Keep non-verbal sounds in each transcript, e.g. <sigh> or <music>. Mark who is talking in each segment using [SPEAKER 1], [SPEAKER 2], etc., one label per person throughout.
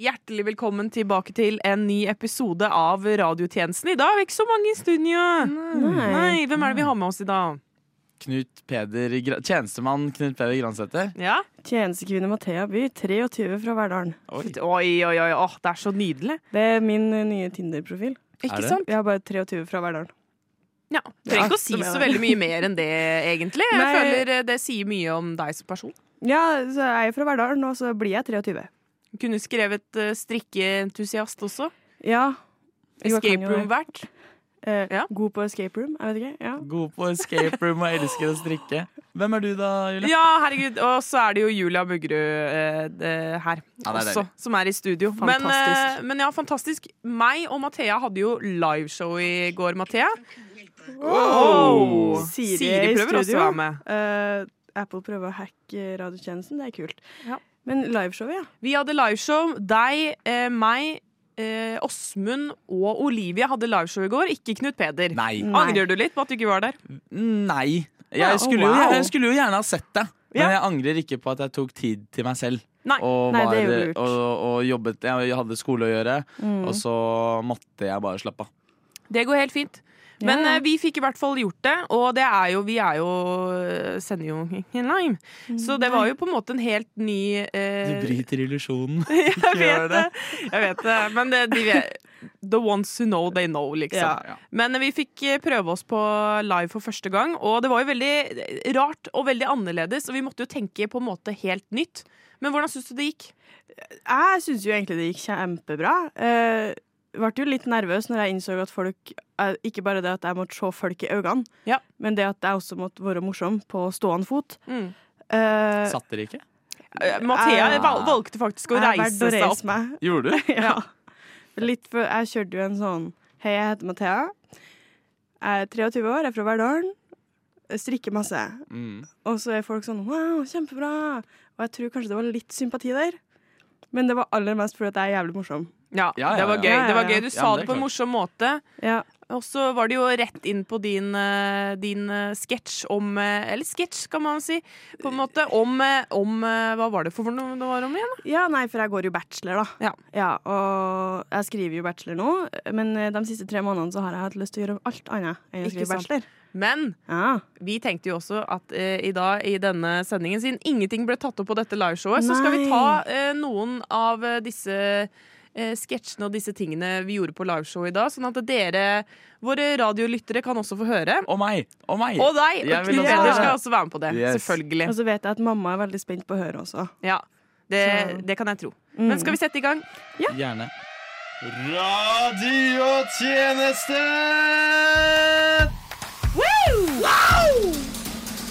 [SPEAKER 1] Hjertelig velkommen tilbake til en ny episode av Radiotjenesten. I dag er vi ikke så mange i studio.
[SPEAKER 2] Nei.
[SPEAKER 1] Nei, Hvem er det vi har med oss i dag?
[SPEAKER 3] Knut Peder, Gra- tjenestemann Knut Peder Gransæter.
[SPEAKER 1] Ja?
[SPEAKER 2] Tjenestekvinne Mathea By, 23 fra Verdalen.
[SPEAKER 3] Oi.
[SPEAKER 1] Oi, oi, oi, åh, det er så nydelig.
[SPEAKER 2] Det er min eh, nye Tinder-profil.
[SPEAKER 1] Ikke
[SPEAKER 3] det?
[SPEAKER 1] sant?
[SPEAKER 2] Jeg er bare 23 fra Verdalen.
[SPEAKER 1] Ja. Trenger ikke å si
[SPEAKER 2] Ja, det er
[SPEAKER 1] så
[SPEAKER 2] det.
[SPEAKER 1] veldig mye mer enn det, egentlig. Jeg
[SPEAKER 2] Nei.
[SPEAKER 1] føler eh, det sier mye om deg som person.
[SPEAKER 2] Ja, så er jeg fra Verdalen, og så blir jeg 23.
[SPEAKER 1] Du kunne skrevet eh, strikkeentusiast også.
[SPEAKER 2] Ja. Jo, jeg kan
[SPEAKER 1] Escape
[SPEAKER 2] jo det.
[SPEAKER 1] room-vert.
[SPEAKER 2] Eh,
[SPEAKER 1] Ja.
[SPEAKER 2] God på escape room, jeg vet ikke. Ja.
[SPEAKER 3] God på escape room og elsker å strikke. Hvem er du da, Julie?
[SPEAKER 1] Ja, herregud. Og så er det jo Julia Muggerud eh, det- her
[SPEAKER 3] Ja, det er
[SPEAKER 1] også,
[SPEAKER 3] deilig.
[SPEAKER 1] som er i studio. Men,
[SPEAKER 2] Fantastisk.
[SPEAKER 1] eh, men ja, fantastisk. Meg og Mathea hadde jo liveshow i går, Mathea.
[SPEAKER 3] Wow!
[SPEAKER 2] Siri er i
[SPEAKER 1] prøver også
[SPEAKER 2] studio.
[SPEAKER 1] å være med.
[SPEAKER 2] Eh, Apple prøver å hacke radiotjenesten, det er kult.
[SPEAKER 1] Ja.
[SPEAKER 2] Men liveshowet, ja.
[SPEAKER 1] Vi hadde liveshow. Deg, eh, meg, eh, Åsmund og Olivia hadde liveshow i går, ikke Knut Peder.
[SPEAKER 3] Nei.
[SPEAKER 2] Nei.
[SPEAKER 1] Angrer du litt på at du ikke var der?
[SPEAKER 3] Nei.
[SPEAKER 2] Ja,
[SPEAKER 3] Jeg skulle,
[SPEAKER 2] wow.
[SPEAKER 3] jo, jeg skulle jo gjerne ha sett deg,
[SPEAKER 1] Ja.
[SPEAKER 3] men jeg angrer ikke på at jeg tok tid til meg selv.
[SPEAKER 1] Nei.
[SPEAKER 3] Og,
[SPEAKER 2] Nei,
[SPEAKER 3] var,
[SPEAKER 2] det er jo lurt.
[SPEAKER 3] og, og jobbet. Jeg hadde skole å gjøre,
[SPEAKER 2] Mm.
[SPEAKER 3] og så måtte jeg bare slappe av.
[SPEAKER 1] Det går helt fint.
[SPEAKER 2] Ja,
[SPEAKER 1] Men
[SPEAKER 2] ja.
[SPEAKER 1] eh, vi fikk i hvert fall gjort det, og det er jo, vi er jo eh, sender jo ikke lime. Så det var jo på en måte en helt ny eh,
[SPEAKER 3] Du bryter illusjonen.
[SPEAKER 1] <laughs> Jeg
[SPEAKER 3] gjør
[SPEAKER 1] vet det. Jeg vet det. Men det, de vet, the ones who know, they know, liksom.
[SPEAKER 2] Ja.
[SPEAKER 3] Ja.
[SPEAKER 1] Men vi fikk eh, prøve oss på live for første gang, og det var jo veldig eh, rart og veldig annerledes, og vi måtte jo tenke på en måte helt nytt. Men hvordan syns du det gikk?
[SPEAKER 2] Jeg syns jo egentlig det gikk kjempebra. Eh, ble jo litt nervøs når jeg innså at folk eh, Ikke bare det at jeg måtte se folk i øynene,
[SPEAKER 1] Ja.
[SPEAKER 2] men det at jeg også måtte være morsom på stående fot.
[SPEAKER 1] Mm.
[SPEAKER 2] Eh,
[SPEAKER 3] Satt dere ikke?
[SPEAKER 1] Eh, Mathea
[SPEAKER 2] Jeg-
[SPEAKER 1] val- valgte faktisk å
[SPEAKER 2] jeg
[SPEAKER 1] reise
[SPEAKER 2] valgte å
[SPEAKER 1] seg opp.
[SPEAKER 2] reise
[SPEAKER 1] <laughs>
[SPEAKER 2] meg.
[SPEAKER 3] Gjorde du?
[SPEAKER 2] ja. Litt for, jeg kjørte jo en sånn Hei, jeg heter Mathea. Jeg er 23 år, jeg er fra Verdalen. Jeg Strikker masse.
[SPEAKER 3] Mm.
[SPEAKER 2] Og så er folk sånn Wow, kjempebra! Og jeg tror kanskje det var litt sympati der. Men det var aller mest fordi at jeg er jævlig morsom.
[SPEAKER 1] Ja,
[SPEAKER 3] Ja, ja,
[SPEAKER 1] det var
[SPEAKER 3] ja.
[SPEAKER 1] gøy.
[SPEAKER 2] Ja, ja,
[SPEAKER 1] Det var
[SPEAKER 2] ja.
[SPEAKER 1] gøy. Du
[SPEAKER 3] Ja,
[SPEAKER 1] sa
[SPEAKER 3] men
[SPEAKER 1] det
[SPEAKER 3] det er
[SPEAKER 1] på en
[SPEAKER 3] klart.
[SPEAKER 1] morsom måte.
[SPEAKER 2] Ja.
[SPEAKER 1] Og så var det jo rett inn på din, eh, din eh, sketsj om eh, Eller sketsj, kan man si. På en måte. Om, eh, om eh, Hva var det for noe det var om igjen? da?
[SPEAKER 2] Ja, nei, for jeg går jo bachelor, da.
[SPEAKER 1] Ja.
[SPEAKER 2] Og jeg skriver jo bachelor nå, men eh, de siste tre månedene så har jeg hatt lyst til å gjøre alt annet enn å
[SPEAKER 1] Ikke
[SPEAKER 2] skrive
[SPEAKER 1] sant.
[SPEAKER 2] bachelor.
[SPEAKER 1] Men
[SPEAKER 2] Ja.
[SPEAKER 1] vi tenkte jo også at eh, i dag i denne sendingen, siden ingenting ble tatt opp på dette liveshowet, så skal vi
[SPEAKER 2] Nei.
[SPEAKER 1] ta eh, noen av eh, disse eh, sketsjene og disse tingene vi gjorde på liveshowet i dag. Sånn at dere, våre radiolyttere, kan også få høre.
[SPEAKER 3] Og meg! Og meg!
[SPEAKER 1] Og deg!
[SPEAKER 3] Jeg
[SPEAKER 1] Og
[SPEAKER 3] vil
[SPEAKER 1] Knut
[SPEAKER 2] også
[SPEAKER 1] Peder
[SPEAKER 2] høre.
[SPEAKER 1] skal også være med på det.
[SPEAKER 3] Yes.
[SPEAKER 1] Selvfølgelig.
[SPEAKER 2] Og så vet jeg at mamma er veldig spent på å høre også.
[SPEAKER 1] Ja, det,
[SPEAKER 2] Så- Mm.
[SPEAKER 1] det kan jeg tro. Men skal vi sette i gang?
[SPEAKER 3] Gjerne.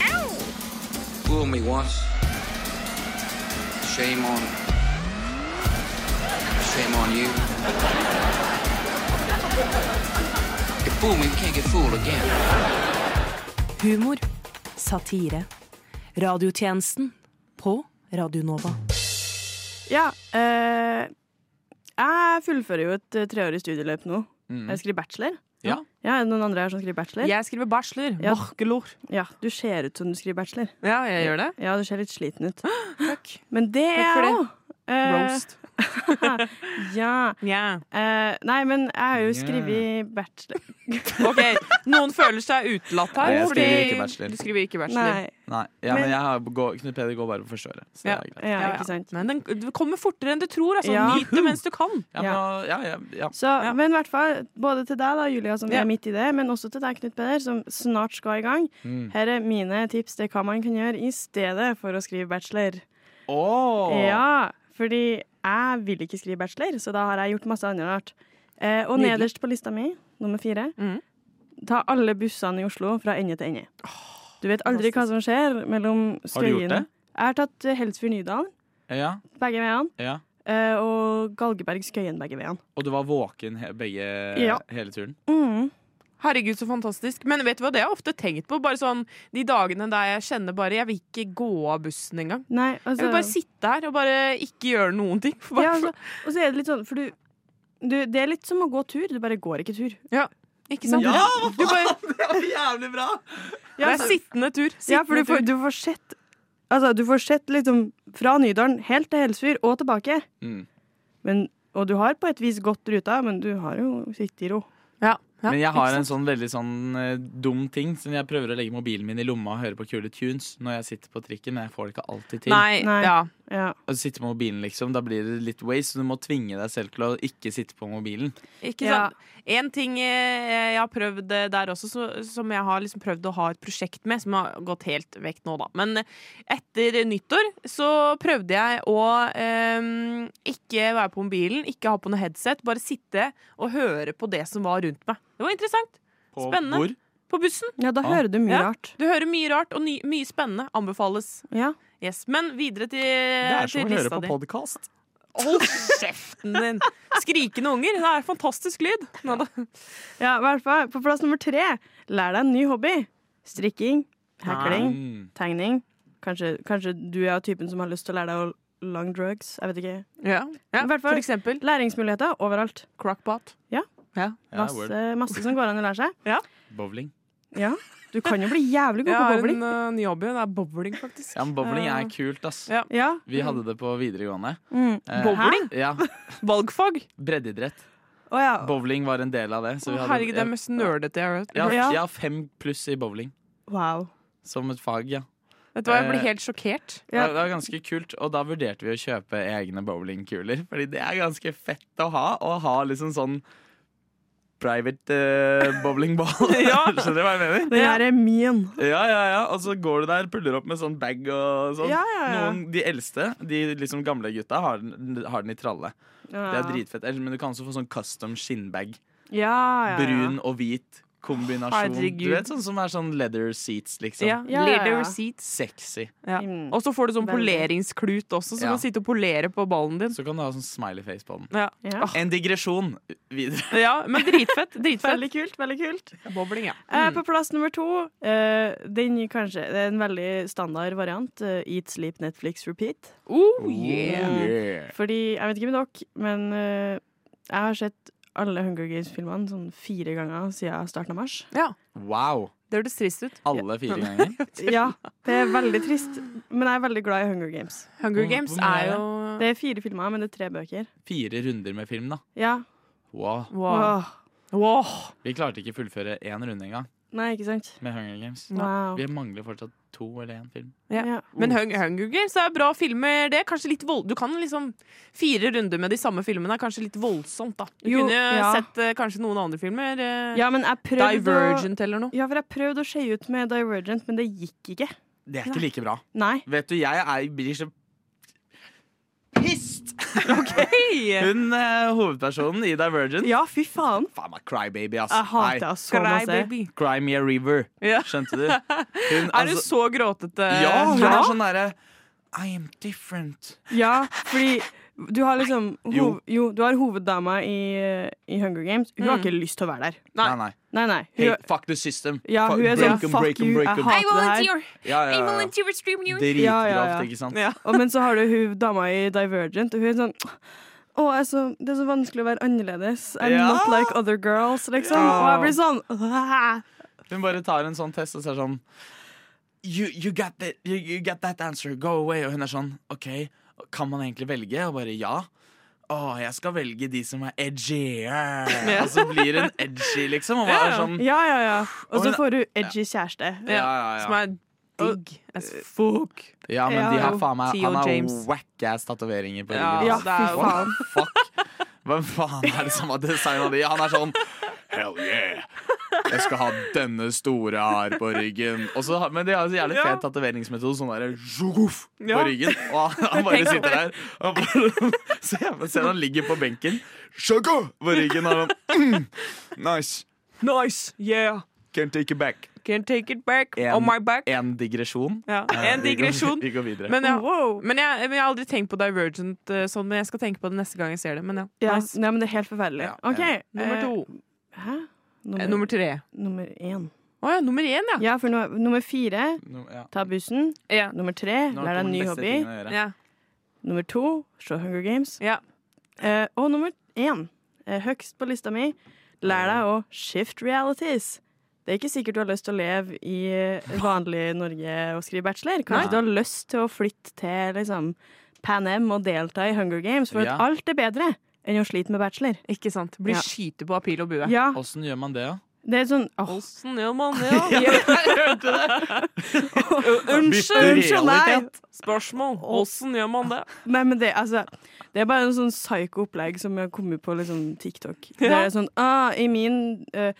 [SPEAKER 4] Radiotjenesten!
[SPEAKER 5] Fool me once. Shame on. Shame on you. You fooled me, you can't get fooled again.
[SPEAKER 6] Humor. Satire. Radiotjenesten på Radio Nova.
[SPEAKER 2] Ja. Eh, jeg fullfører jo et eh, treårig studieløp nå. Jeg skriver bachelor.
[SPEAKER 3] Ja.
[SPEAKER 2] Er det noen andre her som skriver bachelor?
[SPEAKER 1] Mm. Jeg skriver bachelor.
[SPEAKER 2] Ja.
[SPEAKER 1] Bachelor.
[SPEAKER 2] Ja, Du ser ut som du skriver bachelor.
[SPEAKER 1] Ja, jeg gjør det.
[SPEAKER 2] Ja, du ser litt sliten ut.
[SPEAKER 1] <gasps> Takk.
[SPEAKER 2] Men det er
[SPEAKER 1] for
[SPEAKER 2] jeg
[SPEAKER 1] det.
[SPEAKER 2] òg.
[SPEAKER 1] Roast.
[SPEAKER 2] Eh, ja.
[SPEAKER 1] Yeah.
[SPEAKER 2] Eh, nei, men jeg har jo
[SPEAKER 3] Ja.
[SPEAKER 2] skrevet bachelor.
[SPEAKER 1] Ok, Noen føler seg utelatt her.
[SPEAKER 3] Nei, jeg skriver
[SPEAKER 1] fordi-
[SPEAKER 3] ikke bachelor.
[SPEAKER 1] Du skriver ikke bachelor.
[SPEAKER 2] Nei.
[SPEAKER 3] Nei, ja, men,
[SPEAKER 2] Men-
[SPEAKER 3] jeg har, går, Knut Peder går bare på første året. Så
[SPEAKER 1] Ja.
[SPEAKER 3] det er greit.
[SPEAKER 2] Ja,
[SPEAKER 1] Ja, ja.
[SPEAKER 2] ikke sant.
[SPEAKER 1] Men den det kommer fortere enn du tror. Altså.
[SPEAKER 2] Ja.
[SPEAKER 1] Nyt det mens du kan.
[SPEAKER 3] Ja, men, ja, ja, ja.
[SPEAKER 2] Så, Men i hvert fall, både til deg, da, Julia, som
[SPEAKER 1] Ja.
[SPEAKER 2] er midt i det, men også til deg, Knut Peder, som snart skal i gang.
[SPEAKER 3] Mm.
[SPEAKER 2] Her er mine tips til hva man kan gjøre i stedet for å skrive bachelor.
[SPEAKER 3] Åh!
[SPEAKER 2] Ja, fordi jeg vil ikke skrive bachelor, så da har jeg gjort masse annet rart. Eh, og
[SPEAKER 1] Nydelig.
[SPEAKER 2] nederst på lista mi, nummer fire,
[SPEAKER 1] Mhm.
[SPEAKER 2] ta alle bussene i Oslo fra ende til ende. Du vet aldri hva som skjer mellom
[SPEAKER 3] Har du gjort
[SPEAKER 2] Skøyen
[SPEAKER 3] det?
[SPEAKER 2] Jeg har tatt eh, Helsfyr-Nydalen
[SPEAKER 3] Ja,
[SPEAKER 2] begge veiene,
[SPEAKER 3] ja.
[SPEAKER 2] eh, og Galgeberg-Skøyen begge veiene.
[SPEAKER 3] Og du var våken he begge
[SPEAKER 2] Ja.
[SPEAKER 3] hele turen?
[SPEAKER 2] Mhm.
[SPEAKER 1] Herregud, så fantastisk. Men vet du hva, det har jeg ofte tenkt på. Bare sånn, De dagene der jeg kjenner bare Jeg vil ikke gå av bussen engang.
[SPEAKER 2] Nei, altså,
[SPEAKER 1] Jeg vil bare sitte her og bare ikke gjøre noen ting. <laughs> Bare,
[SPEAKER 2] ja, altså, Og så er det litt sånn, for du, du Det er litt som å gå tur, du bare går ikke tur.
[SPEAKER 1] ikke sant?
[SPEAKER 2] men- Ja,
[SPEAKER 1] du bare,
[SPEAKER 3] Det var jævlig bra!
[SPEAKER 1] det er sittende tur. altså, Sittende
[SPEAKER 2] altså, Ja, for du får,
[SPEAKER 1] tur.
[SPEAKER 2] du får sett Altså, du får sett liksom fra Nydalen helt til Helsfyr og tilbake.
[SPEAKER 3] Mm.
[SPEAKER 2] Men, og du har på et vis gått ruta, men du har jo sittet i ro.
[SPEAKER 1] Ja. ja,
[SPEAKER 3] Men jeg
[SPEAKER 1] ikke
[SPEAKER 3] har
[SPEAKER 1] sant?
[SPEAKER 3] en sånn veldig sånn eh, dum ting som jeg prøver å legge mobilen min i lomma og høre på kule tunes når jeg sitter på trikken, men jeg får det ikke alltid til.
[SPEAKER 1] Nei,
[SPEAKER 2] Nei.
[SPEAKER 1] ja.
[SPEAKER 2] Ja.
[SPEAKER 3] Å sitte på mobilen, liksom, da blir det litt waste, så du må tvinge deg selv til å ikke sitte på mobilen.
[SPEAKER 1] Ikke
[SPEAKER 2] Ja.
[SPEAKER 1] sant? En ting eh, jeg har prøvd eh, der også, så, som jeg har liksom prøvd å ha et prosjekt med, som har gått helt vekk nå, da. Men eh, etter nyttår så prøvde jeg å eh, ikke være på mobilen, ikke ha på noe headset, bare sitte og høre på det som var rundt meg. Det var interessant.
[SPEAKER 3] På
[SPEAKER 1] Spennende.
[SPEAKER 3] Hvor?
[SPEAKER 1] På bussen.
[SPEAKER 2] ja, da
[SPEAKER 3] Ah.
[SPEAKER 2] hører du mye
[SPEAKER 1] Ja.
[SPEAKER 2] rart.
[SPEAKER 1] Du hører mye rart og ny, mye spennende. Anbefales.
[SPEAKER 2] Ja.
[SPEAKER 1] Yes. Men videre til,
[SPEAKER 3] Det er som
[SPEAKER 1] Eh, til
[SPEAKER 3] å høre
[SPEAKER 1] lista
[SPEAKER 3] på
[SPEAKER 1] di.
[SPEAKER 3] podkast.
[SPEAKER 1] Hold kjeften din! Skrikende unger. Det er fantastisk lyd. Nå da.
[SPEAKER 2] Ja, i hvert fall på plass nummer tre. Lær deg en ny hobby. Strikking, hekling,
[SPEAKER 3] Mm.
[SPEAKER 2] tegning. Kanskje, kanskje du er av typen som har lyst til å lære deg å long drugs. Jeg vet ikke.
[SPEAKER 1] Ja. ja.
[SPEAKER 2] I hvert fall-
[SPEAKER 1] For eksempel.
[SPEAKER 2] Læringsmuligheter overalt.
[SPEAKER 1] Crockpot.
[SPEAKER 3] Ja, word.
[SPEAKER 2] Masse, masse som går an å lære seg.
[SPEAKER 3] Bowling.
[SPEAKER 2] Ja, Du kan jo bli
[SPEAKER 1] Jeg
[SPEAKER 2] jævlig god <laughs> på
[SPEAKER 1] har en
[SPEAKER 2] bowling.
[SPEAKER 1] uh, ny hobby. Det er bowling, faktisk.
[SPEAKER 3] Ja, men bowling
[SPEAKER 1] Ja.
[SPEAKER 3] er kult, ass.
[SPEAKER 1] Ja.
[SPEAKER 2] Ja.
[SPEAKER 3] Vi hadde det på videregående.
[SPEAKER 2] Mm.
[SPEAKER 3] Eh,
[SPEAKER 1] Bowling?
[SPEAKER 3] Ja,
[SPEAKER 1] Valgfag!
[SPEAKER 3] Breddeidrett.
[SPEAKER 2] Å ja.
[SPEAKER 3] Bowling var en del av det. Så vi
[SPEAKER 1] Å,
[SPEAKER 3] hadde,
[SPEAKER 1] Herregud, det er mest nerdete jeg har hørt.
[SPEAKER 3] ja,
[SPEAKER 2] Ja.
[SPEAKER 3] jeg har fem pluss i bowling
[SPEAKER 2] Wow.
[SPEAKER 3] som et fag, ja.
[SPEAKER 1] Vet du hva, jeg
[SPEAKER 3] Eh,
[SPEAKER 1] blir helt sjokkert.
[SPEAKER 2] Ja.
[SPEAKER 3] Det var ganske kult, og da vurderte vi å kjøpe egne bowlingkuler. Fordi det er ganske fett å ha, å ha liksom sånn private eh, bowlingball.
[SPEAKER 2] <laughs>
[SPEAKER 1] Ja.
[SPEAKER 3] <laughs> Skjønner du hva jeg mener?
[SPEAKER 2] Den her er min.
[SPEAKER 3] Ja, ja, ja. Og så går du der, puller opp med sånn bag og sånn.
[SPEAKER 2] Ja, ja, ja.
[SPEAKER 3] Noen, de eldste, de liksom gamle gutta, har den, har den i tralle. Det er dritfett. Eller, Men du kan også få sånn custom skinnbag.
[SPEAKER 2] Ja, ja, ja.
[SPEAKER 3] Brun og hvit kombinasjon.
[SPEAKER 1] Herregud.
[SPEAKER 3] Du vet sånn som er sånn leather seats, liksom.
[SPEAKER 1] Ja.
[SPEAKER 2] Ja,
[SPEAKER 1] Lead
[SPEAKER 2] ja,
[SPEAKER 1] the
[SPEAKER 2] ja.
[SPEAKER 1] receipts.
[SPEAKER 3] Sexy.
[SPEAKER 1] Ja.
[SPEAKER 2] Mm.
[SPEAKER 1] Og så får du sånn
[SPEAKER 2] Veldig.
[SPEAKER 1] poleringsklut også, så
[SPEAKER 3] Ja.
[SPEAKER 1] du kan sitte og polere på ballen din.
[SPEAKER 3] Så kan du ha sånn smiley face på den.
[SPEAKER 1] Ja,
[SPEAKER 2] Ja.
[SPEAKER 1] Åh,
[SPEAKER 3] En digresjon videre.
[SPEAKER 1] ja men dritfett. <laughs>
[SPEAKER 2] Veldig
[SPEAKER 1] Dritfett.
[SPEAKER 2] kult. veldig kult
[SPEAKER 1] Bowling, ja. Mm.
[SPEAKER 2] Eh, På plass nummer to eh, Den kanskje, Det er en veldig standard variant. eh, eat, sleep, Netflix, repeat.
[SPEAKER 1] Oh, yeah.
[SPEAKER 3] Yeah.
[SPEAKER 2] Fordi, jeg vet ikke med dere, men eh, jeg har sett alle Hunger Games-filmene sånn fire ganger siden starten av
[SPEAKER 1] <laughs>
[SPEAKER 2] mars.
[SPEAKER 1] ja.
[SPEAKER 3] Wow.
[SPEAKER 1] Det hørtes trist ut.
[SPEAKER 3] Alle fire ganger.
[SPEAKER 2] Ja, Det er veldig trist, men jeg er veldig glad i Hunger Games.
[SPEAKER 1] Hunger
[SPEAKER 3] Hvor-
[SPEAKER 1] Games
[SPEAKER 3] hvor mye
[SPEAKER 1] er
[SPEAKER 3] er
[SPEAKER 1] jo
[SPEAKER 2] Det er fire filmer, men det er tre bøker.
[SPEAKER 3] Fire runder med film, da.
[SPEAKER 2] Ja.
[SPEAKER 3] Wow.
[SPEAKER 1] Wow.
[SPEAKER 2] Åh.
[SPEAKER 1] eh, wow.
[SPEAKER 3] Vi klarte ikke å fullføre én runde engang
[SPEAKER 2] Nei, ikke sant?
[SPEAKER 3] med Hunger Games.
[SPEAKER 2] Wow.
[SPEAKER 3] Vi mangler fortsatt to eller én film.
[SPEAKER 1] Ja.
[SPEAKER 2] Ja.
[SPEAKER 1] Men Hung Hunger Games er bra filmer, det. Kanskje litt vold... Du kan liksom Fire runder med de samme filmene er kanskje litt voldsomt, da. Du
[SPEAKER 2] Jo,
[SPEAKER 1] kunne
[SPEAKER 2] ja.
[SPEAKER 1] sett eh, kanskje noen andre filmer. eh,
[SPEAKER 2] Ja, men jeg prøvde å-
[SPEAKER 1] Divergent eller noe.
[SPEAKER 2] Ja, for jeg prøvde å skeie ut med Divergent, men det gikk ikke.
[SPEAKER 3] Det er ikke like bra.
[SPEAKER 2] Nei.
[SPEAKER 3] Vet du, jeg er, blir så pissed! Hun eh, hovedpersonen i Divergent
[SPEAKER 2] Ja, fy faen.
[SPEAKER 3] Faen meg crybaby, ass.
[SPEAKER 2] Jeg hater sånn, altså. henne så masse.
[SPEAKER 1] baby.
[SPEAKER 3] Cry me a river.
[SPEAKER 1] Ja.
[SPEAKER 3] Skjønte
[SPEAKER 2] <laughs>
[SPEAKER 3] du? Hun, altså,
[SPEAKER 1] Er du så gråtete?
[SPEAKER 3] Ja, hun
[SPEAKER 1] Altså- Ja.
[SPEAKER 3] er sånn derre I am different.
[SPEAKER 2] Ja, fordi du har liksom
[SPEAKER 3] Jo.
[SPEAKER 2] hov, jo, du har hoveddama i, i Hunger Games. Hun har
[SPEAKER 1] Mm.
[SPEAKER 2] ikke lyst til å være der.
[SPEAKER 1] Nei.
[SPEAKER 3] nei.
[SPEAKER 2] Nei, nei. Hun,
[SPEAKER 3] Hate, fuck the system.
[SPEAKER 2] ja,
[SPEAKER 3] Fuck-
[SPEAKER 2] hun er sånn
[SPEAKER 3] break 'em,
[SPEAKER 2] fuck
[SPEAKER 3] break 'em,
[SPEAKER 2] you,
[SPEAKER 3] break
[SPEAKER 2] jeg
[SPEAKER 3] 'em.
[SPEAKER 2] hater det her.
[SPEAKER 3] Ja, ja, ja. Dritgravt,
[SPEAKER 2] Ja, ja, ja.
[SPEAKER 3] ikke sant?
[SPEAKER 1] Ja.
[SPEAKER 2] <laughs> Og, men så har du hun dama i Divergent, og hun er sånn å, jeg er så, det er så vanskelig å være annerledes. I'm
[SPEAKER 3] Ja.
[SPEAKER 2] not like other girls, liksom.
[SPEAKER 3] Ja.
[SPEAKER 2] Og jeg blir sånn «Åh».
[SPEAKER 3] Hun bare tar en sånn test og så er sånn you, you, got that, you, you got that answer, go away. Og hun er sånn OK, kan man egentlig velge? Og bare ja. Å, jeg skal velge de som er edgy. yeah». Og så blir hun edgy, liksom. Og bare sånn
[SPEAKER 2] Ja, ja, ja.
[SPEAKER 3] Og
[SPEAKER 2] Og så
[SPEAKER 3] hun-
[SPEAKER 2] får hun edgy kjæreste.
[SPEAKER 3] Ja, ja,
[SPEAKER 1] Som
[SPEAKER 3] ja.
[SPEAKER 1] er digg as fuck.
[SPEAKER 3] ja men
[SPEAKER 2] Ja,
[SPEAKER 3] de har
[SPEAKER 2] jo.
[SPEAKER 3] faen meg
[SPEAKER 1] T.O.
[SPEAKER 3] Han har
[SPEAKER 1] James.
[SPEAKER 3] whack-ass tatoveringer på
[SPEAKER 1] Ja,
[SPEAKER 3] ryggen.
[SPEAKER 2] Ja,
[SPEAKER 3] altså.
[SPEAKER 1] det er
[SPEAKER 2] fy
[SPEAKER 1] jo-
[SPEAKER 2] faen.
[SPEAKER 3] Fuck. Hvem faen er det som har designa de? Han er sånn Hell yeah! Jeg skal ha denne store her på ryggen. Og så har- men de har en så jævlig fet tatoveringsmetode. Sånn derre «Zhuguff» på
[SPEAKER 1] Ja.
[SPEAKER 3] ryggen.
[SPEAKER 1] <laughs>
[SPEAKER 3] Og han- han bare sitter der og bare <laughs> Se jeg ser han ligger på benken. «Zhuguff» På ryggen og han
[SPEAKER 1] <laughs>
[SPEAKER 3] mm, Nice.
[SPEAKER 1] Nice! Yeah!
[SPEAKER 3] Can't take it back.
[SPEAKER 1] Can't take it back
[SPEAKER 3] En-
[SPEAKER 1] on Oh my back.
[SPEAKER 3] En digresjon.
[SPEAKER 1] Ja. <laughs>
[SPEAKER 3] Eh,
[SPEAKER 1] En
[SPEAKER 3] vi går-
[SPEAKER 1] digresjon.
[SPEAKER 3] <laughs> Vi går videre.
[SPEAKER 1] Men, ja.
[SPEAKER 2] Wow.
[SPEAKER 1] men, jeg, men jeg har aldri tenkt på Divergent eh, sånn, men jeg skal tenke på det neste gang jeg ser det. Men ja,
[SPEAKER 2] Ja,
[SPEAKER 1] nice.
[SPEAKER 2] nei, men det er helt forferdelig.
[SPEAKER 3] Ja,
[SPEAKER 2] OK.
[SPEAKER 3] ja.
[SPEAKER 1] Nummer to.
[SPEAKER 2] Eh, Hæ?
[SPEAKER 1] Eh,
[SPEAKER 2] Nummer,
[SPEAKER 1] Nummer tre.
[SPEAKER 2] nummer én.
[SPEAKER 1] Å ja, nummer én, ja.
[SPEAKER 2] Ja, for no, nummer fire
[SPEAKER 3] Nå- ja.
[SPEAKER 2] Ta bussen.
[SPEAKER 1] Ja.
[SPEAKER 2] Nummer tre
[SPEAKER 3] Nå
[SPEAKER 2] Lær deg
[SPEAKER 3] kommer
[SPEAKER 2] en ny
[SPEAKER 3] beste
[SPEAKER 2] hobby.
[SPEAKER 3] tingen å gjøre.
[SPEAKER 1] ja.
[SPEAKER 2] Nummer to Se Hunger Games.
[SPEAKER 1] ja.
[SPEAKER 2] Eh, og nummer én, eh, høgst på lista mi, lær deg å shift realities. Det er ikke sikkert du har lyst til å leve i eh, vanlig Norge og skrive bachelor. Kanskje
[SPEAKER 3] Nei.
[SPEAKER 2] du har lyst til å flytte til liksom, Pan Am og delta i Hunger Games, for
[SPEAKER 3] Ja.
[SPEAKER 2] at alt er bedre. enn å slite med bachelor.
[SPEAKER 1] Ikke sant? Blir
[SPEAKER 2] Ja.
[SPEAKER 1] skyter på av pil og bue.
[SPEAKER 2] Ja,
[SPEAKER 3] Åssen gjør man det, da?
[SPEAKER 2] det er sånn åh,
[SPEAKER 1] Åssen gjør man <laughs> det, da? Jeg hørte det.
[SPEAKER 3] Bytter
[SPEAKER 1] Unnskyld.
[SPEAKER 2] Unnskyld, nei!
[SPEAKER 3] realitet.
[SPEAKER 1] Spørsmål. Åssen gjør man det?
[SPEAKER 2] Nei, men det, altså, det er bare en sånn psyko opplegg som jeg har kommet på liksom, TikTok. Det
[SPEAKER 1] Ja.
[SPEAKER 2] er sånn ah, I min eh,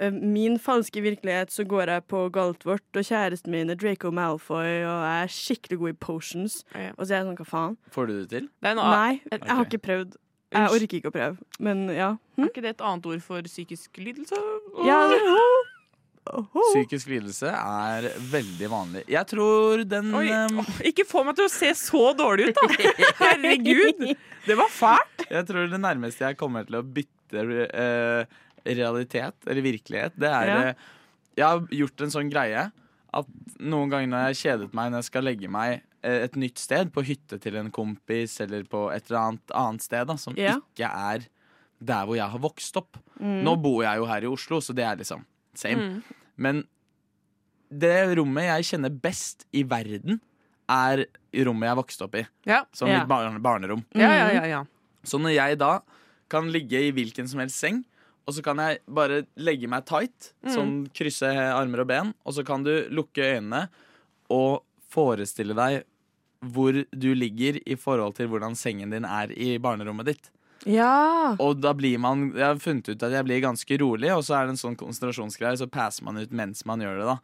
[SPEAKER 2] eh, Min falske virkelighet så går jeg på Galtvort, og kjæresten min er Draco Malfoy, og jeg er skikkelig god i potions.
[SPEAKER 1] Ja.
[SPEAKER 2] Og så er jeg sånn, hva faen?
[SPEAKER 3] Får du det til?
[SPEAKER 1] Det er noe
[SPEAKER 2] Nei, jeg har
[SPEAKER 3] Ok.
[SPEAKER 2] ikke prøvd. Jeg
[SPEAKER 1] Unnskyld.
[SPEAKER 2] orker ikke å prøve, men ja.
[SPEAKER 1] Er ikke det et annet ord for psykisk lidelse?
[SPEAKER 2] ja.
[SPEAKER 3] Psykisk lidelse er veldig vanlig. Jeg tror den
[SPEAKER 1] Oi.
[SPEAKER 3] um,
[SPEAKER 1] Åh, Ikke få meg til å se så dårlig ut, da! <laughs> Herregud! Det var fælt!
[SPEAKER 3] Jeg tror det nærmeste jeg kommer til å bytte eh, realitet, eller virkelighet, det er
[SPEAKER 2] Ja.
[SPEAKER 3] eh, Jeg har gjort en sånn greie at noen ganger når jeg har kjedet meg når jeg skal legge meg eh, et nytt sted, på hytte til en kompis eller på et eller annet annet sted da, som
[SPEAKER 2] Ja.
[SPEAKER 3] ikke er der hvor jeg har vokst opp
[SPEAKER 2] Mm.
[SPEAKER 3] Nå bor jeg jo her i Oslo, så det er liksom same.
[SPEAKER 1] Mm.
[SPEAKER 3] Men det rommet jeg kjenner best i verden, er rommet jeg vokste opp i.
[SPEAKER 1] Ja.
[SPEAKER 3] Som
[SPEAKER 2] Ja.
[SPEAKER 3] mitt barne barnerom.
[SPEAKER 1] Ja, ja, ja, ja.
[SPEAKER 3] Så når jeg da kan ligge i hvilken som helst seng, og så kan jeg bare legge meg tight, sånn krysse armer og ben, og så kan du lukke øynene og forestille deg hvor du ligger i forhold til hvordan sengen din er i barnerommet ditt.
[SPEAKER 2] <laughs> Ja.
[SPEAKER 3] Og da blir man Jeg har funnet ut at jeg blir ganske rolig, og så er det en sånn konsentrasjonsgreie, så passer man ut mens man gjør det, da.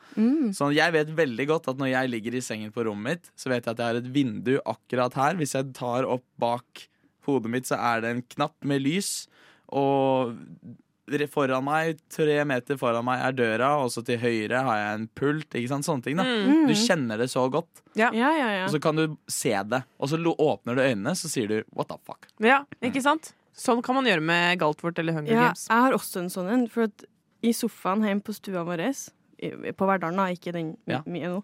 [SPEAKER 3] Så jeg vet veldig godt at når jeg ligger i sengen på rommet mitt, så vet jeg at jeg har et vindu akkurat her. Hvis jeg tar opp bak hodet mitt, så er det en knapp med lys, og re- foran meg, tre meter foran meg, er døra, og så til høyre har jeg en pult, ikke sant. Sånne ting, da.
[SPEAKER 1] Mm.
[SPEAKER 3] Du kjenner det så godt,
[SPEAKER 2] Ja, ja, ja.
[SPEAKER 3] og så kan du se det. Og så lo- åpner du øynene, så sier du what the fuck.
[SPEAKER 1] ja. Ikke sant? Sånn kan man gjøre med Galtvort eller Hunger
[SPEAKER 2] Ja,
[SPEAKER 1] Games.
[SPEAKER 2] jeg har også en sånn en. For at i sofaen hjemme på stua vår, i- på Verdalen, da, ikke den
[SPEAKER 3] Ja.
[SPEAKER 2] mi nå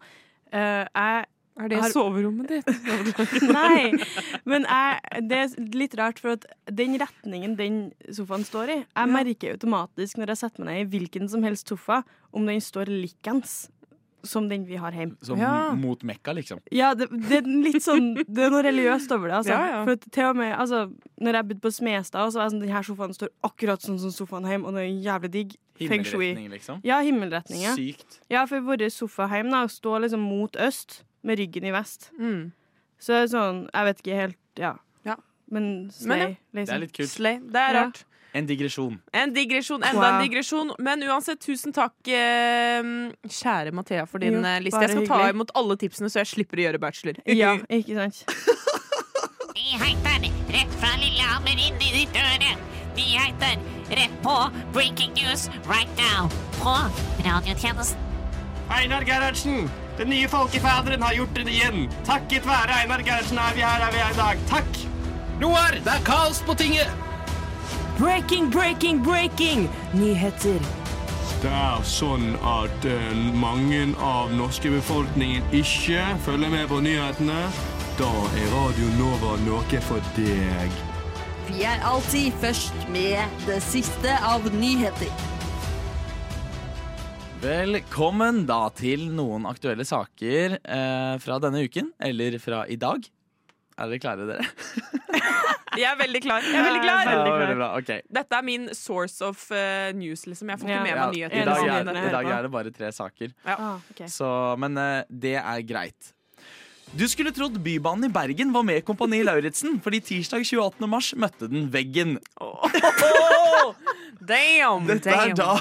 [SPEAKER 2] eh, jeg, <laughs>
[SPEAKER 1] Er
[SPEAKER 2] det
[SPEAKER 1] soverommet ditt?
[SPEAKER 2] Nei! Men jeg, det er litt rart, for at den retningen den sofaen står i Jeg merker automatisk når jeg setter meg ned i hvilken som helst sofa, om den står likens som den vi har hjemme.
[SPEAKER 3] Som
[SPEAKER 1] Ja.
[SPEAKER 3] mot Mekka, liksom.
[SPEAKER 2] Ja, det, det er litt sånn Det er noe religiøst over det. Altså.
[SPEAKER 1] Ja, ja.
[SPEAKER 2] For at til og med altså, Når jeg bodde på Smestad, så var jeg sånn Den her sofaen står akkurat sånn som sofaen hjemme, og den er jævlig digg. Feng shui.
[SPEAKER 3] Himmelretning, liksom.
[SPEAKER 2] Ja, himmelretning. Ja.
[SPEAKER 3] Sykt.
[SPEAKER 2] ja, for vår sofahjem da, står liksom mot øst, med ryggen i vest.
[SPEAKER 1] Mm.
[SPEAKER 2] Så det er sånn, jeg vet ikke helt, ja.
[SPEAKER 1] Ja.
[SPEAKER 2] Men
[SPEAKER 1] Men
[SPEAKER 2] slay,
[SPEAKER 3] Det er
[SPEAKER 2] liksom.
[SPEAKER 3] litt kult.
[SPEAKER 1] Slay. Det er
[SPEAKER 2] Ja.
[SPEAKER 1] rart.
[SPEAKER 3] En digresjon.
[SPEAKER 1] En digresjon, enda
[SPEAKER 2] Wow.
[SPEAKER 1] en digresjon. Men uansett, tusen takk, eh, kjære Mathea, for din
[SPEAKER 2] Jo,
[SPEAKER 1] eh, liste.
[SPEAKER 2] bare
[SPEAKER 1] Jeg skal ta
[SPEAKER 2] hyggelig.
[SPEAKER 1] imot alle tipsene, så jeg slipper å gjøre bachelor.
[SPEAKER 2] Ja, ikke sant?
[SPEAKER 4] De heter Rett fra Lillehammer inn i ditt øre. De heter Rett på Breaking News Right Now på radiotjenesten.
[SPEAKER 7] Einar Gerhardsen! Den nye folkefaderen har gjort det igjen. Takket være Einar Gerhardsen er vi her er vi er i dag. Takk!
[SPEAKER 5] Noir, det er kaos på tinget!
[SPEAKER 6] Breaking, breaking, breaking! Nyheter.
[SPEAKER 7] Det er sånn at mange av norske befolkningen ikke følger med på nyhetene. Da er Radio Nova noe for deg.
[SPEAKER 8] Vi er alltid først med det siste av nyheter.
[SPEAKER 3] Velkommen da til noen aktuelle saker eh, fra denne uken, eller fra i dag. Er dere klare, dere?
[SPEAKER 1] <laughs> Jeg er veldig klar. Jeg er veldig
[SPEAKER 2] Ja,
[SPEAKER 1] klar.
[SPEAKER 2] <laughs> veldig.
[SPEAKER 3] Ja,
[SPEAKER 2] klar.
[SPEAKER 3] bra. Ok.
[SPEAKER 1] Dette er min source of eh, news, liksom. Jeg får ikke
[SPEAKER 2] Ja.
[SPEAKER 1] med meg
[SPEAKER 3] Ja, I
[SPEAKER 1] nyheter. Liksom.
[SPEAKER 3] dag
[SPEAKER 2] Eller
[SPEAKER 3] er,
[SPEAKER 2] sånn
[SPEAKER 3] I dag
[SPEAKER 2] nyhetene
[SPEAKER 3] er det bare tre saker.
[SPEAKER 2] Ah, ok.
[SPEAKER 3] Så, men eh, det er greit. Du skulle trodd Bybanen i Bergen var med Kompani Lauritzen, fordi tirsdag 28. mars møtte den veggen.
[SPEAKER 1] Damn!
[SPEAKER 3] Dette er, da,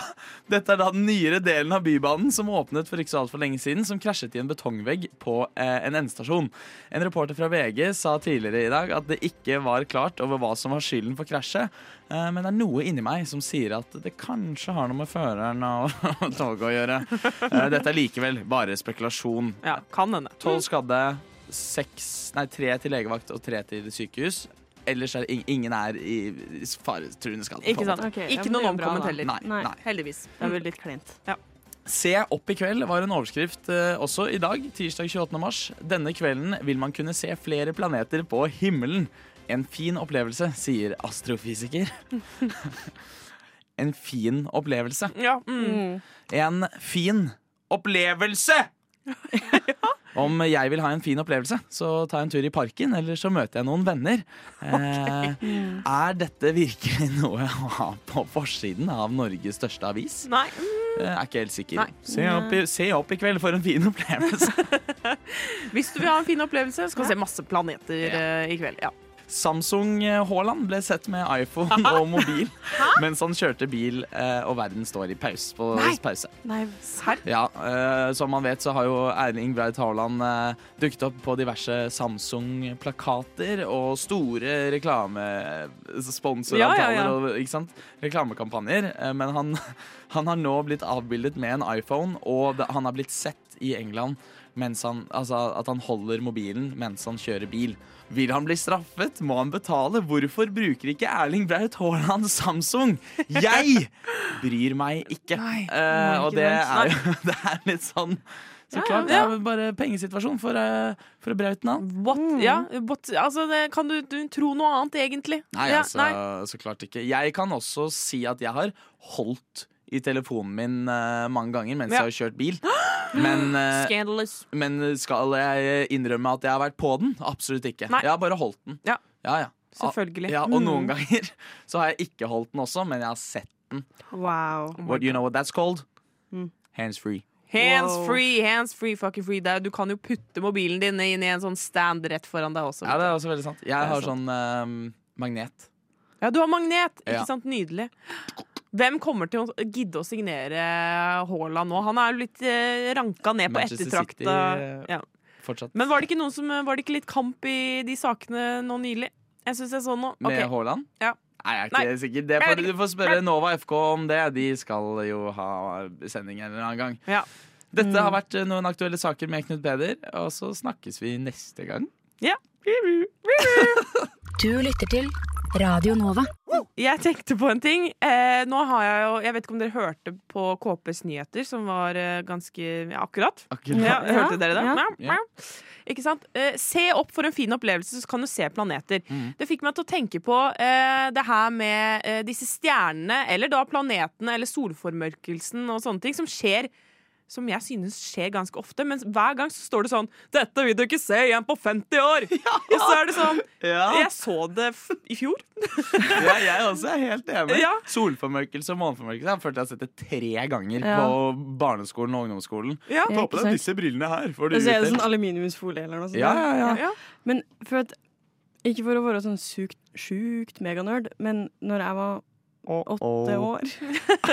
[SPEAKER 3] dette er da den nyere delen av Bybanen som åpnet for ikke så altfor lenge siden, som krasjet i en betongvegg på eh, en endestasjon. En reporter fra VG sa tidligere i dag at det ikke var klart over hva som var skylden for krasjet, eh, men det er noe inni meg som sier at det kanskje har noe med føreren og <laughs> toget å gjøre. Eh, dette er likevel bare spekulasjon.
[SPEAKER 1] Ja, kan hende.
[SPEAKER 3] Tolv skadde, seks, nei, tre til legevakt og tre til sykehus. Ellers er det ing- ingen er i i faretruende skade. på en
[SPEAKER 1] Ikke sant?
[SPEAKER 3] måte.
[SPEAKER 2] Ok, ja,
[SPEAKER 1] ikke
[SPEAKER 2] men det
[SPEAKER 1] noen
[SPEAKER 2] er bra,
[SPEAKER 1] omkommet
[SPEAKER 2] da.
[SPEAKER 1] heller.
[SPEAKER 3] Nei,
[SPEAKER 2] Nei.
[SPEAKER 3] nei.
[SPEAKER 1] Heldigvis.
[SPEAKER 2] Det er vel litt klent.
[SPEAKER 3] Se opp i kveld var en overskrift eh, også i dag, tirsdag 28. mars. Denne kvelden vil man kunne se flere planeter på himmelen. En fin opplevelse, sier astrofysiker. <laughs> en fin
[SPEAKER 1] mm.
[SPEAKER 3] opplevelse.
[SPEAKER 1] Ja, mm.
[SPEAKER 3] En fin opplevelse! Om jeg vil ha en fin opplevelse, så ta en tur i parken, eller så møter jeg noen venner. Eh, er dette virkelig noe å ha på forsiden av Norges største avis?
[SPEAKER 1] Nei. mm,
[SPEAKER 3] Eh, er ikke helt sikker.
[SPEAKER 1] Nei.
[SPEAKER 3] Se opp, i, se opp i kveld for en fin
[SPEAKER 1] <laughs>
[SPEAKER 3] opplevelse.
[SPEAKER 1] Hvis du vil ha en fin opplevelse, skal du se masse planeter eh, i kveld. Ja.
[SPEAKER 3] Samsung eh, Haaland ble sett med
[SPEAKER 1] <laughs>
[SPEAKER 3] iPhone og mobil mens han kjørte bil, eh, og verden står i paus, på
[SPEAKER 1] Nei.
[SPEAKER 3] pause.
[SPEAKER 2] Nei,
[SPEAKER 1] Serr?
[SPEAKER 3] Ja, eh, Som man vet, så har jo Erling Braut Haaland eh, dukket opp på diverse Samsung-plakater og store reklamesponsoravtaler
[SPEAKER 1] Ja, ja, ja.
[SPEAKER 3] og ikke sant? reklamekampanjer. Eh, men han, <laughs> han har nå blitt avbildet med en iPhone, og det, han har blitt sett i England mens han, altså at han holder mobilen mens han kjører bil. Vil han bli straffet? Må han betale? Hvorfor bruker ikke Erling Braut Haaland Samsung? Jeg bryr meg ikke.
[SPEAKER 1] Nei,
[SPEAKER 3] Eh, og
[SPEAKER 1] ikke
[SPEAKER 3] det
[SPEAKER 1] sant.
[SPEAKER 3] er jo <laughs> det er litt sånn Så
[SPEAKER 1] Ja,
[SPEAKER 3] klart, det
[SPEAKER 1] ja.
[SPEAKER 3] er jo bare pengesituasjon for, eh, for Brauten han.
[SPEAKER 1] What? Ja, what? Altså, det, kan du, du tro noe annet, egentlig?
[SPEAKER 3] Nei,
[SPEAKER 1] ja,
[SPEAKER 3] altså, så klart ikke. Jeg kan også si at jeg har holdt i telefonen min eh, mange ganger mens
[SPEAKER 1] Ja.
[SPEAKER 3] jeg har kjørt
[SPEAKER 1] <gasps>
[SPEAKER 3] bil. Men, eh,
[SPEAKER 1] Scandalous.
[SPEAKER 3] men skal jeg innrømme at jeg har vært på den? Absolutt ikke.
[SPEAKER 1] Nei.
[SPEAKER 3] Jeg har bare holdt den.
[SPEAKER 1] Ja.
[SPEAKER 3] Ja, ja.
[SPEAKER 1] Selvfølgelig. Mm.
[SPEAKER 3] Ja, og noen ganger <laughs> så har jeg ikke holdt den også, men jeg har sett den.
[SPEAKER 2] wow.
[SPEAKER 1] Oh
[SPEAKER 3] What, you know what that's called?
[SPEAKER 1] Mm.
[SPEAKER 3] Hands free.
[SPEAKER 1] Hands
[SPEAKER 2] Wow.
[SPEAKER 1] free, hands free, fucking free. Det er- Du kan jo putte mobilen din inn i en sånn stand rett foran deg også.
[SPEAKER 3] Ja, det er også veldig sant. Jeg har
[SPEAKER 1] sant.
[SPEAKER 3] sånn eh, magnet.
[SPEAKER 1] Ja, du har magnet! Ikke
[SPEAKER 3] Ja.
[SPEAKER 1] sant? Nydelig. Hvem kommer til å gidde å signere Haaland nå? Han er jo litt eh, ranka ned på
[SPEAKER 3] Manchester City,
[SPEAKER 1] ettertrakta
[SPEAKER 3] eh,
[SPEAKER 1] ja.
[SPEAKER 3] Fortsatt.
[SPEAKER 1] Men var det ikke noen som Var det ikke litt kamp i de sakene nå nylig? Jeg syns jeg så noe.
[SPEAKER 3] Med
[SPEAKER 1] Ok.
[SPEAKER 3] Haaland?
[SPEAKER 1] Ja.
[SPEAKER 3] Nei, jeg er
[SPEAKER 1] Nei.
[SPEAKER 3] ikke sikker. Det
[SPEAKER 1] Jeg
[SPEAKER 3] får,
[SPEAKER 1] vet
[SPEAKER 3] du får spørre Nova FK om det. De skal jo ha sending en eller annen gang.
[SPEAKER 1] Ja.
[SPEAKER 3] Dette
[SPEAKER 1] Mm.
[SPEAKER 3] har vært eh, noen aktuelle saker med Knut Peder, og så snakkes vi neste gang.
[SPEAKER 1] Ja.
[SPEAKER 9] Du lytter til Radio Nova.
[SPEAKER 1] Jeg tenkte på en ting. Eh, nå har jeg jo Jeg vet ikke om dere hørte på KPs nyheter, som var eh, ganske ja, akkurat. Ja,
[SPEAKER 3] Akkurat.
[SPEAKER 1] hørte dere det?
[SPEAKER 2] Ja.
[SPEAKER 1] Mjau,
[SPEAKER 3] Ja.
[SPEAKER 1] mjau. Ikke sant? Eh, se opp for en fin opplevelse, så kan du se planeter. Det fikk meg til å tenke på eh, det her med eh, disse stjernene, eller da planetene, eller solformørkelsen og sånne ting, som skjer som jeg synes skjer ganske ofte, men hver gang så står det sånn 'Dette vil du ikke se igjen på 50 <laughs> år!' Og så er det sånn
[SPEAKER 3] <laughs> Ja.
[SPEAKER 1] Jeg så det f i fjor.
[SPEAKER 3] ja, jeg også er helt enig.
[SPEAKER 1] Ja.
[SPEAKER 3] Solformørkelse og måneformørkelse har jeg følt jeg har sett det tre ganger
[SPEAKER 2] Ja.
[SPEAKER 3] på barneskolen og ungdomsskolen.
[SPEAKER 1] Ja.
[SPEAKER 3] Ta på deg disse brillene her. Får
[SPEAKER 2] Og så er det sånn aluminiumsfolie eller noe sånt.
[SPEAKER 3] ja,
[SPEAKER 2] der.
[SPEAKER 3] ja, ja.
[SPEAKER 1] Ja.
[SPEAKER 2] Men for at, ikke for å være sånn sykt, sjukt meganerd, men når jeg var åtte år,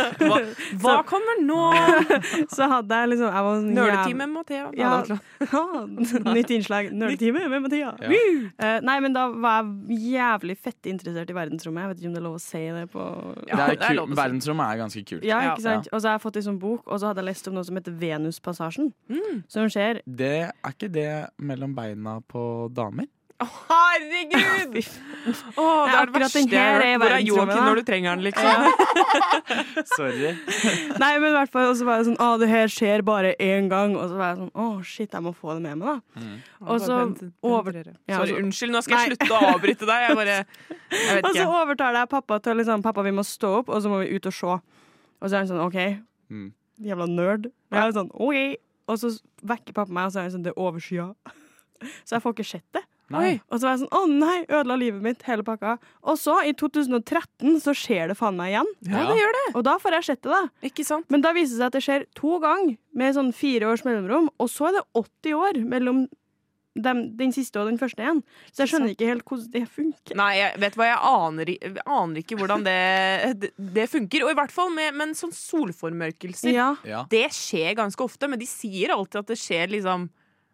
[SPEAKER 2] <laughs>
[SPEAKER 1] Hva kommer nå? <laughs>
[SPEAKER 2] så hadde jeg liksom jeg var sånn
[SPEAKER 1] Nøletime med Mathea.
[SPEAKER 2] <laughs> Ja, Nytt innslag. Nøletime med Mathia.
[SPEAKER 3] Ja.
[SPEAKER 2] Woo! Eh, nei, men da var jeg jævlig fett interessert i verdensrommet. Jeg vet ikke om det er lov å si det på
[SPEAKER 1] Ja,
[SPEAKER 3] Det er
[SPEAKER 1] det er lov å
[SPEAKER 3] kult.
[SPEAKER 1] si.
[SPEAKER 3] Verdensrommet er ganske kult.
[SPEAKER 2] Ja,
[SPEAKER 1] Ja.
[SPEAKER 2] ikke sant? Og så har jeg fått en sånn bok, og så hadde jeg lest om noe som heter Venuspassasjen.
[SPEAKER 1] Mm.
[SPEAKER 2] Som skjer
[SPEAKER 3] Det er ikke det mellom beina på damer?
[SPEAKER 1] Herregud! Åh, det
[SPEAKER 2] Nei,
[SPEAKER 1] er det
[SPEAKER 2] akkurat
[SPEAKER 1] verste
[SPEAKER 2] den
[SPEAKER 1] jeg har
[SPEAKER 2] her er
[SPEAKER 1] hørt. Hvor er
[SPEAKER 2] verdensrommet,
[SPEAKER 1] Joakim
[SPEAKER 2] da?
[SPEAKER 1] når du trenger han, liksom?
[SPEAKER 3] Sorry.
[SPEAKER 2] Nei, men i hvert fall, og så var jeg sånn Å, det her skjer bare én gang. Og så var jeg sånn Å, shit, jeg må få det med meg, da. Og så over... Ja,
[SPEAKER 1] Sorry,
[SPEAKER 2] altså-
[SPEAKER 1] unnskyld, nå skal jeg slutte å avbryte deg. Jeg
[SPEAKER 2] <laughs>
[SPEAKER 1] bare Jeg vet
[SPEAKER 2] Og så
[SPEAKER 1] ikke.
[SPEAKER 2] overtaler jeg pappa til liksom Pappa, vi må stå opp, og så må vi ut og se. Og så er han sånn OK.
[SPEAKER 3] Mm.
[SPEAKER 2] Jævla nerd. Og jeg er sånn OK. Og så vekker pappa meg, og så er han sånn Det er overskya. <laughs> Så jeg får ikke sett det.
[SPEAKER 3] Nei.
[SPEAKER 2] Og så var jeg sånn Å nei, ødela livet mitt, hele pakka. Og så, i 2013, så skjer det faen meg igjen.
[SPEAKER 1] Ja, det gjør det.
[SPEAKER 2] Og da får jeg sett det, da.
[SPEAKER 1] Ikke sant?
[SPEAKER 2] Men da viser det seg at det skjer to ganger med sånn fire års mellomrom, og så er det 80 år mellom dem, den siste og den første igjen. Så jeg skjønner ikke helt hvordan det funker.
[SPEAKER 1] Nei, jeg vet hva, jeg aner, i- aner ikke hvordan det, <laughs> det, det funker. Og i hvert fall med men sånn solformørkelser.
[SPEAKER 2] Ja.
[SPEAKER 3] Ja.
[SPEAKER 1] Det skjer ganske ofte, men de sier alltid at det skjer liksom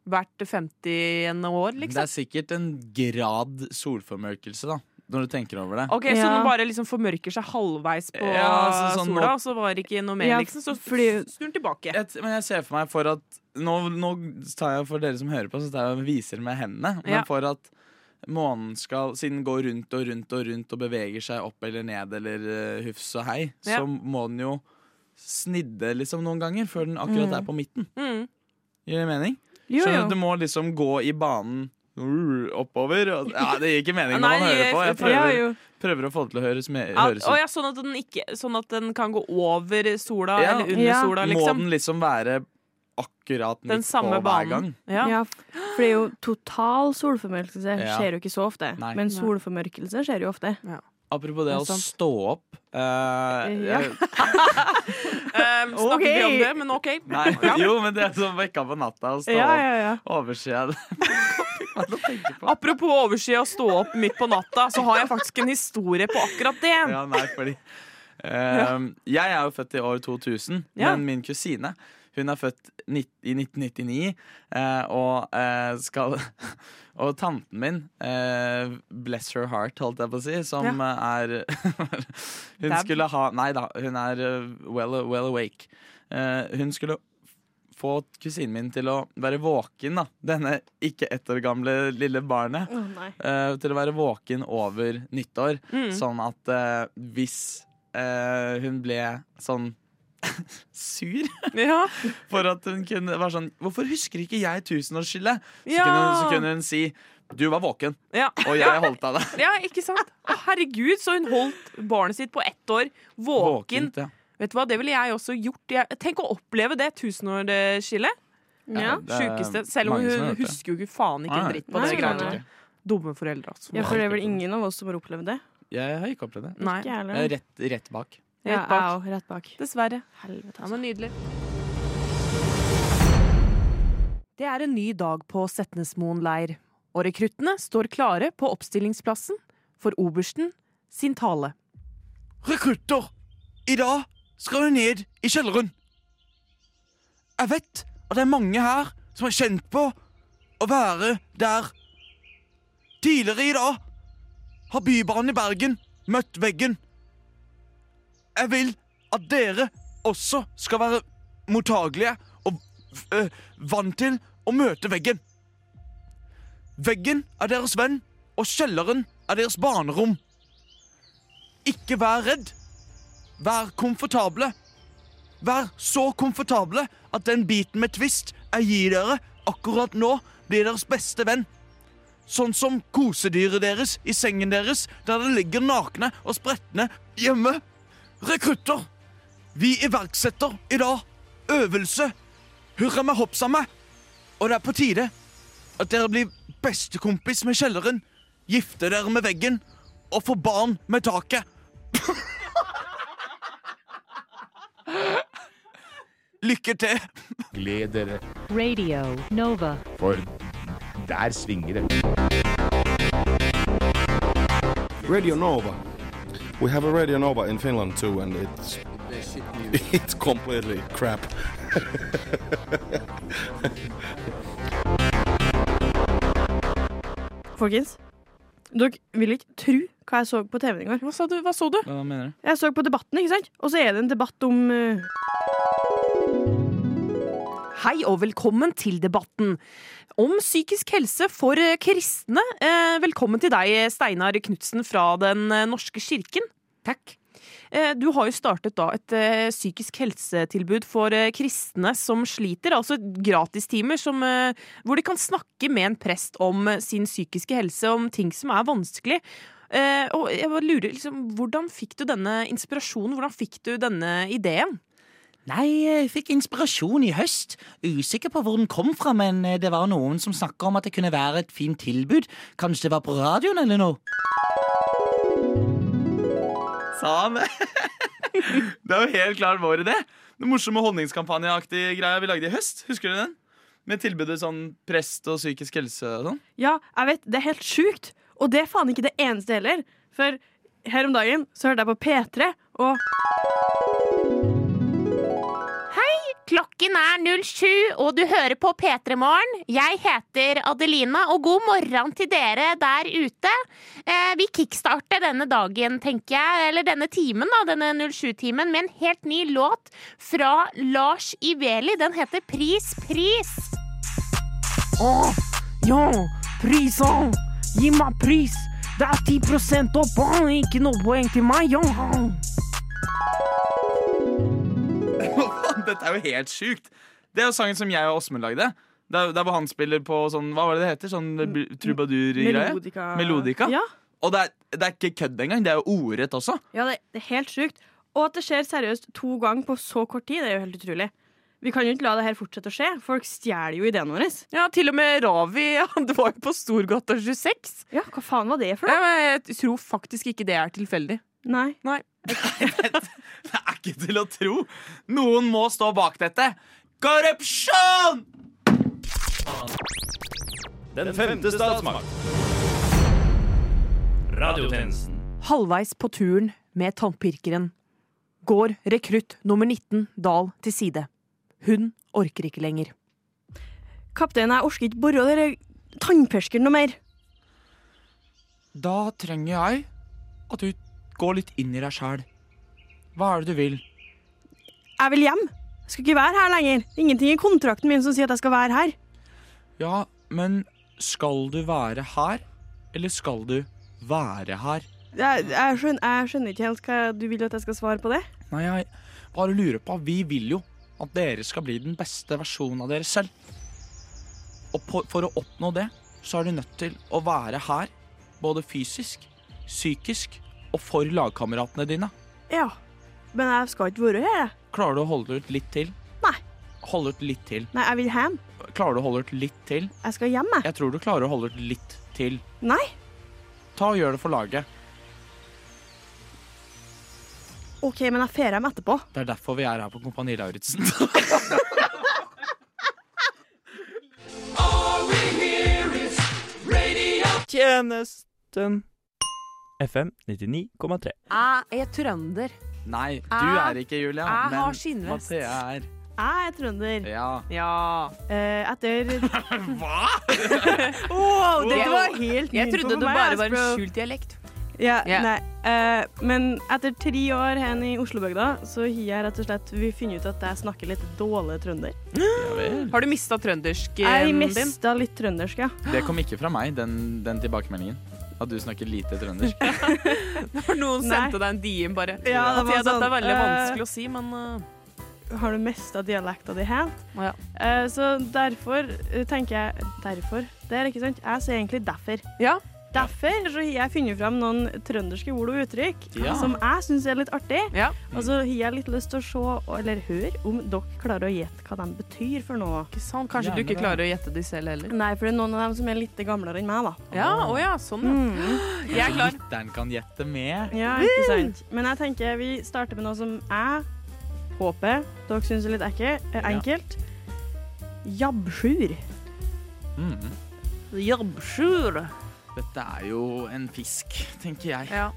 [SPEAKER 1] hvert 50. år,
[SPEAKER 3] Det
[SPEAKER 1] liksom.
[SPEAKER 3] er sikkert en grad solformørkelse, da, når du tenker over det.
[SPEAKER 1] Ok, Så
[SPEAKER 2] Ja.
[SPEAKER 1] den bare liksom formørker seg halvveis på
[SPEAKER 3] Ja, altså sånn
[SPEAKER 1] sola,
[SPEAKER 3] nå-
[SPEAKER 1] og så var det ikke noe mer,
[SPEAKER 2] Ja,
[SPEAKER 1] liksom? Så
[SPEAKER 2] fordi-
[SPEAKER 1] snur den tilbake.
[SPEAKER 3] Jeg, t- men jeg ser for meg for at nå, nå tar jeg for dere som hører på, så tar jeg og viser med hendene. Men
[SPEAKER 1] Ja.
[SPEAKER 3] for at månen skal, siden den går rundt og rundt og rundt og beveger seg opp eller ned eller eh, hufs og hei,
[SPEAKER 1] Ja.
[SPEAKER 3] så må den jo snidde liksom noen ganger før den akkurat er på midten.
[SPEAKER 1] Mm.
[SPEAKER 3] Gir det mening?
[SPEAKER 2] Jo,
[SPEAKER 3] Skjønner
[SPEAKER 2] jo.
[SPEAKER 3] du, du må liksom gå i banen uh, oppover. Og, ja, det gir ikke mening når
[SPEAKER 1] Nei,
[SPEAKER 3] man hører på.
[SPEAKER 1] jeg-
[SPEAKER 3] Jeg
[SPEAKER 2] Ja,
[SPEAKER 3] prøver,
[SPEAKER 2] jo.
[SPEAKER 3] prøver å få det til å høres, me-
[SPEAKER 1] At,
[SPEAKER 3] høres
[SPEAKER 1] å
[SPEAKER 3] ut.
[SPEAKER 1] ja, sånn at, den ikke, sånn at den kan gå over sola
[SPEAKER 3] Ja.
[SPEAKER 1] eller under
[SPEAKER 2] Ja.
[SPEAKER 1] sola,
[SPEAKER 3] Må
[SPEAKER 1] liksom.
[SPEAKER 3] den liksom være akkurat midt
[SPEAKER 1] Den samme
[SPEAKER 3] på hver gang.
[SPEAKER 1] banen. Ja.
[SPEAKER 2] Ja, for det er jo total solformørkelse
[SPEAKER 3] Ja.
[SPEAKER 2] skjer jo ikke så ofte.
[SPEAKER 3] Nei.
[SPEAKER 2] Men solformørkelse skjer jo ofte.
[SPEAKER 3] Apropos det,
[SPEAKER 1] Det er
[SPEAKER 3] å
[SPEAKER 1] sant.
[SPEAKER 3] stå opp eh,
[SPEAKER 2] Ja.
[SPEAKER 3] jeg-
[SPEAKER 1] Eh, snakker
[SPEAKER 2] Ok.
[SPEAKER 1] vi om det, men OK.
[SPEAKER 3] Nei,
[SPEAKER 1] <laughs>
[SPEAKER 3] jo, men det er sånn vekka på natta og stå opp. Overser jeg det? Hva er det å tenke på?
[SPEAKER 1] Apropos overside og stå opp midt på natta, så har jeg faktisk en historie på akkurat det.
[SPEAKER 3] Ja, nei, fordi eh, Jeg er jo født i år 2000,
[SPEAKER 1] Ja.
[SPEAKER 3] men min kusine hun er født nitt- i 1999, eh, og eh, skal <laughs> Og tanten min, eh, bless her heart, holdt jeg på å si, som eh, er <laughs> Hun
[SPEAKER 1] Dab.
[SPEAKER 3] skulle ha Nei da, hun er eh, well, well awake. Eh, hun skulle få kusinen min til å være våken, da. Denne ikke ett år gamle lille barnet
[SPEAKER 2] Å nei.
[SPEAKER 3] eh, til å være våken over nyttår.
[SPEAKER 1] Mm.
[SPEAKER 3] Sånn at eh, hvis eh, hun ble sånn <laughs> sur
[SPEAKER 1] Ja.
[SPEAKER 3] for at hun kunne være sånn Hvorfor husker ikke jeg tusenårsskillet? Så,
[SPEAKER 1] Ja.
[SPEAKER 3] kunne, hun- så kunne hun si du var våken,
[SPEAKER 1] Ja.
[SPEAKER 3] og jeg holdt av deg.
[SPEAKER 1] ja, ikke sant? Å, herregud, så hun holdt barnet sitt på ett år <laughs> våken.
[SPEAKER 3] Våkent, ja.
[SPEAKER 1] Vet du hva, Det ville jeg også gjort. Jeg, tenk å oppleve det tusenårsskillet.
[SPEAKER 2] Ja.
[SPEAKER 3] det er
[SPEAKER 1] Sjukeste. Selv om
[SPEAKER 3] mange som
[SPEAKER 1] hun
[SPEAKER 3] har gjort det.
[SPEAKER 1] husker jo ikke faen ikke en
[SPEAKER 3] Nei,
[SPEAKER 1] dritt på
[SPEAKER 2] nei,
[SPEAKER 1] det.
[SPEAKER 3] sikkert
[SPEAKER 1] greiene
[SPEAKER 2] nei.
[SPEAKER 1] der.
[SPEAKER 3] ikke.
[SPEAKER 1] Dumme foreldre, altså.
[SPEAKER 2] Ja, for det er vel ingen av oss som har opplevd det.
[SPEAKER 3] Jeg har ikke opplevd det.
[SPEAKER 1] Nei,
[SPEAKER 2] Ikke jeg
[SPEAKER 3] Jeg er
[SPEAKER 2] heller.
[SPEAKER 3] Rett, rett bak.
[SPEAKER 2] Ja,
[SPEAKER 1] rett bak.
[SPEAKER 2] au, rett bak.
[SPEAKER 1] dessverre.
[SPEAKER 2] Helvete,
[SPEAKER 1] Ja,
[SPEAKER 2] altså.
[SPEAKER 1] men nydelig. Det er en ny dag på Setnesmoen leir, og rekruttene står klare på oppstillingsplassen for obersten sin tale.
[SPEAKER 3] Rekrutter! I dag skal vi ned i kjelleren. Jeg vet at det er mange her som har kjent på å være der. Tidligere i dag har Bybanen i Bergen møtt veggen. Jeg vil at dere også skal være mottagelige og eh, vant til å møte veggen. Veggen er deres venn, og kjelleren er deres barnerom. Ikke vær redd. Vær komfortable. Vær så komfortable at den biten med twist jeg gir dere akkurat nå, blir deres beste venn. Sånn som kosedyret deres i sengen deres, der det ligger nakne og spretne hjemme. Rekrutter! Vi iverksetter i dag øvelse Hurra meg hopp sammen meg. Og det er på tide at dere blir bestekompis med kjelleren, gifter dere med veggen og får barn med taket. Lykke til!
[SPEAKER 10] Gled dere,
[SPEAKER 9] Radio Nova.
[SPEAKER 10] for der svinger det.
[SPEAKER 7] Radio Nova.
[SPEAKER 10] We have a Radio Nova in Finland too, and it's <laughs> it's completely crap.
[SPEAKER 2] Folkens, dere vil ikke tro hva jeg så på TV-en i går.
[SPEAKER 1] Hva, sa du? Hva så du?
[SPEAKER 3] Hva mener du?
[SPEAKER 2] Jeg så på Debatten, ikke sant? Og så er det en debatt om eh,
[SPEAKER 1] Hei og velkommen til debatten om psykisk helse for eh, kristne. Eh, Velkommen til deg, Steinar Knutsen fra Den eh, norske kirken. Takk. Du har jo startet da et eh, psykisk helsetilbud for eh, kristne som sliter, altså gratistimer som, eh, hvor de kan snakke med en prest om eh, sin psykiske helse, om ting som er vanskelig. Eh, Og jeg bare lurer, liksom, hvordan fikk du denne inspirasjonen, hvordan fikk du denne ideen?
[SPEAKER 3] Nei, jeg fikk inspirasjon i høst. Usikker på hvor den kom fra, men eh, det var noen som snakka om at det kunne være et fint tilbud. Kanskje det var på radioen eller noe? Sa han det? <laughs> det er jo helt klart vår idé. Den morsomme honningskampanjeaktige greia vi lagde i høst. Husker du den? Med tilbudet sånn prest og psykisk helse og sånn. <laughs>
[SPEAKER 2] Ja, jeg vet, det er helt sjukt. Og det er faen ikke det eneste heller. For her om dagen så hørte jeg på P3, og
[SPEAKER 4] Klokken er 07, og du hører på P3 Morgen. Jeg heter Adelina, og god morgen til dere der ute. Eh, vi kickstarter denne dagen, tenker jeg, eller denne timen, da, denne 07-timen, med en helt ny låt fra Lars Iveli. Den heter Pris, pris.
[SPEAKER 6] Ja, prisen! Gi meg pris! Det er 10 opp! ah, Ikke noe poeng til meg! Ja.
[SPEAKER 3] Dette er jo helt sjukt. Det er jo sangen som jeg og Åsmund lagde. Det er, det er hvor han spiller på sånn Hva var det det heter? Sånn bl- trubadur-greie?
[SPEAKER 2] Melodika.
[SPEAKER 3] Melodika?
[SPEAKER 2] Ja,
[SPEAKER 3] Og det er, det er ikke kødd engang. Det er jo ordrett også.
[SPEAKER 2] ja det, det er helt sjukt. Og at det skjer seriøst to ganger på så kort tid, det er jo helt utrolig. Vi kan jo ikke la det her fortsette å skje. Folk stjeler jo ideene våre.
[SPEAKER 1] Ja, til og med Ravi <laughs> han var jo på Storgata 26.
[SPEAKER 2] Ja, hva faen var det for
[SPEAKER 1] noe? jeg tror faktisk ikke det er tilfeldig.
[SPEAKER 2] Nei.
[SPEAKER 1] Nei.
[SPEAKER 3] <laughs> Det er ikke til å tro! Noen må stå bak dette. Korrupsjon!
[SPEAKER 11] Den femte statsmakt. Radiotjenesten.
[SPEAKER 1] Halvveis på turen med tannpirkeren går rekrutt nummer 19 Dahl til side. Hun orker ikke lenger.
[SPEAKER 2] Kaptein, jeg orker ikke bore dere tannpirkeren noe mer.
[SPEAKER 3] Da trenger jeg at du går litt inn i deg sjæl. Hva er det du vil?
[SPEAKER 2] Jeg vil hjem. Jeg skal ikke være her lenger. Ingenting i kontrakten min som sier at jeg skal være her.
[SPEAKER 3] Ja, men skal du være her, eller skal du være her?
[SPEAKER 2] Jeg, jeg, skjønner, jeg skjønner ikke helt hva du vil at jeg skal svare på det.
[SPEAKER 3] Nei, jeg bare lurer på Vi vil jo at dere skal bli den beste versjonen av dere selv. Og på, for å oppnå det, så er du nødt til å være her, både fysisk, psykisk og for lagkameratene dine.
[SPEAKER 2] Ja, men jeg skal ikke være her. jeg.
[SPEAKER 3] Klarer du å holde ut litt til?
[SPEAKER 2] Nei.
[SPEAKER 3] Holde ut litt til?
[SPEAKER 2] Nei, jeg vil hjem.
[SPEAKER 3] Klarer du å holde ut litt til?
[SPEAKER 2] Jeg skal hjem, jeg.
[SPEAKER 3] Jeg tror du klarer å holde ut litt til.
[SPEAKER 2] Nei.
[SPEAKER 3] Ta og gjør det for laget.
[SPEAKER 2] OK, men jeg fer hjem etterpå.
[SPEAKER 3] Det er derfor vi er her på Kompani Lauritzen. <laughs>
[SPEAKER 11] Tjenesten. FM 99,3.
[SPEAKER 1] Jeg er trønder.
[SPEAKER 3] Nei, du
[SPEAKER 1] Ah.
[SPEAKER 3] er ikke Julia,
[SPEAKER 1] Jeg har
[SPEAKER 3] men
[SPEAKER 1] skinnvest.
[SPEAKER 3] Mathea er
[SPEAKER 2] Jeg er trønder.
[SPEAKER 3] Ja.
[SPEAKER 1] Ja.
[SPEAKER 2] Eh, etter
[SPEAKER 3] <laughs> Hva?!
[SPEAKER 2] <laughs> Wow, dette
[SPEAKER 1] Wow.
[SPEAKER 2] var helt
[SPEAKER 1] Jeg
[SPEAKER 2] nytt for
[SPEAKER 1] trodde det
[SPEAKER 2] meg,
[SPEAKER 1] bare
[SPEAKER 2] ass,
[SPEAKER 1] var
[SPEAKER 2] bro.
[SPEAKER 1] en skjult dialekt.
[SPEAKER 2] Ja,
[SPEAKER 1] Ja.
[SPEAKER 2] nei. eh, men etter tre år her i Oslobygda, så har jeg rett og slett vi funnet ut at jeg snakker litt dårlig trønder.
[SPEAKER 1] Har du mista trøndersken
[SPEAKER 2] Jeg
[SPEAKER 1] din? <laughs>
[SPEAKER 2] mista litt trøndersk, ja.
[SPEAKER 3] Det kom ikke fra meg, den, den tilbakemeldingen. At du snakker lite trøndersk.
[SPEAKER 1] For noen
[SPEAKER 2] Nei.
[SPEAKER 1] sendte deg en DM bare.
[SPEAKER 2] Ja, det var
[SPEAKER 1] Mathea,
[SPEAKER 2] sånn,
[SPEAKER 1] Dette er veldig
[SPEAKER 2] eh,
[SPEAKER 1] vanskelig å si, men eh,
[SPEAKER 2] Har du mista dialekta di helt?
[SPEAKER 1] Ja.
[SPEAKER 2] Eh, så derfor eh, tenker jeg Derfor? Det er ikke sant? Jeg sier egentlig derfor.
[SPEAKER 1] Ja.
[SPEAKER 2] Derfor så har jeg funnet fram noen trønderske ord og uttrykk
[SPEAKER 3] Ja.
[SPEAKER 2] som jeg syns er litt artig.
[SPEAKER 1] Ja.
[SPEAKER 2] Og så har Altså, jeg litt lyst til å se eller høre om dere klarer å gjette hva de betyr for noe.
[SPEAKER 1] ikke sant. Kanskje du
[SPEAKER 3] Gjerne
[SPEAKER 1] ikke
[SPEAKER 3] det.
[SPEAKER 1] klarer å gjette de selv heller.
[SPEAKER 2] Nei, for det er noen av dem som er litt gamlere enn meg, da.
[SPEAKER 1] Ja, å ja, sånn ja. <gasps> Jeg er klar.
[SPEAKER 3] Lytteren kan gjette med.
[SPEAKER 2] Ja, ikke sant. Men jeg tenker vi starter med noe som jeg håper dere syns er litt ekke, eh, enkelt. Jabbsjur.
[SPEAKER 3] Mm.
[SPEAKER 1] Jobbsjur.
[SPEAKER 3] Dette er jo en fisk, tenker jeg.
[SPEAKER 1] Ja.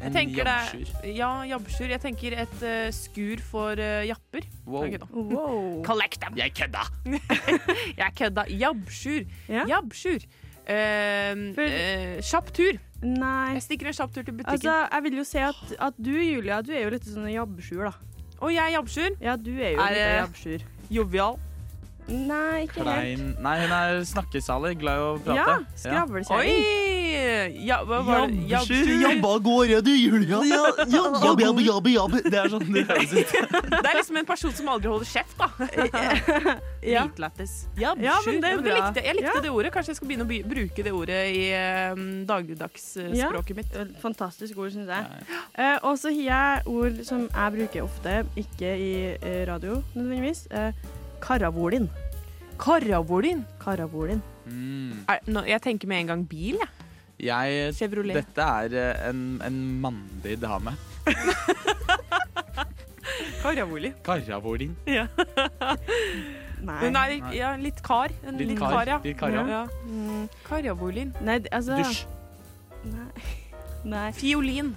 [SPEAKER 1] Jeg
[SPEAKER 3] En
[SPEAKER 1] tenker
[SPEAKER 3] jabbsjur.
[SPEAKER 1] det Ja, jobbsjur. Jeg tenker et eh, skur for eh, japper.
[SPEAKER 3] Wow.
[SPEAKER 1] Nei, kødda.
[SPEAKER 2] Wow.
[SPEAKER 1] Collect them!
[SPEAKER 3] Jeg kødda!
[SPEAKER 1] Jeg kødda. Jabbsjur.
[SPEAKER 2] Ja.
[SPEAKER 1] Jabbsjur. Eh,
[SPEAKER 2] For-
[SPEAKER 1] eh, kjapp tur.
[SPEAKER 2] Nei.
[SPEAKER 1] Jeg stikker en kjapp tur til butikken.
[SPEAKER 2] Altså, jeg vil jo si at, at du, Julia, du er jo litt sånn en jabbsjur, da.
[SPEAKER 1] og jeg er jabbsjur.
[SPEAKER 2] Ja, du er jo
[SPEAKER 1] Er
[SPEAKER 2] litt
[SPEAKER 1] det-
[SPEAKER 2] en jabbsjur.
[SPEAKER 1] Jovial.
[SPEAKER 2] Nei, ikke helt.
[SPEAKER 3] Klein Nei, hun er snakkesalig. Glad i å prate.
[SPEAKER 2] Ja,
[SPEAKER 3] Ja.
[SPEAKER 2] skravlekjerring.
[SPEAKER 1] Oi! Ja, hva var det?
[SPEAKER 3] går jeg, du, Julia? Jabbe, jabbe, jabbe, jabbe. Det er sånn det høres ut.
[SPEAKER 1] Det er liksom en person som aldri holder kjeft, da.
[SPEAKER 2] <laughs> Ja.
[SPEAKER 1] Dritlættis.
[SPEAKER 2] Ja, men det er
[SPEAKER 1] Ja, men jeg
[SPEAKER 2] bra.
[SPEAKER 1] likte, jeg likte
[SPEAKER 2] Ja.
[SPEAKER 1] det ordet. Kanskje jeg skal begynne å by- bruke det ordet i um,
[SPEAKER 2] Ja.
[SPEAKER 1] dagligdagsspråket mitt.
[SPEAKER 2] Fantastisk ord, syns jeg. Eh, og så har jeg ord som jeg bruker ofte, ikke i eh, radio nødvendigvis. Eh, karavolin.
[SPEAKER 1] Karavolin.
[SPEAKER 2] Karavolin.
[SPEAKER 3] Mm.
[SPEAKER 1] Er, nå, jeg tenker med en gang bil, jeg.
[SPEAKER 3] Jeg
[SPEAKER 1] Chevrolet.
[SPEAKER 3] Dette er eh, en, en mandig dame.
[SPEAKER 1] Karavoli.
[SPEAKER 3] Karravolin.
[SPEAKER 2] Nei.
[SPEAKER 1] Hun er ja, litt kar. En
[SPEAKER 3] Litt
[SPEAKER 1] litt,
[SPEAKER 3] kar,
[SPEAKER 1] kar, ja.
[SPEAKER 3] litt kar, ja.
[SPEAKER 1] ja.
[SPEAKER 2] Mm,
[SPEAKER 1] Karavolin.
[SPEAKER 2] nei, d- altså
[SPEAKER 3] Dusj.
[SPEAKER 2] Nei. <laughs> nei.
[SPEAKER 1] Fiolin.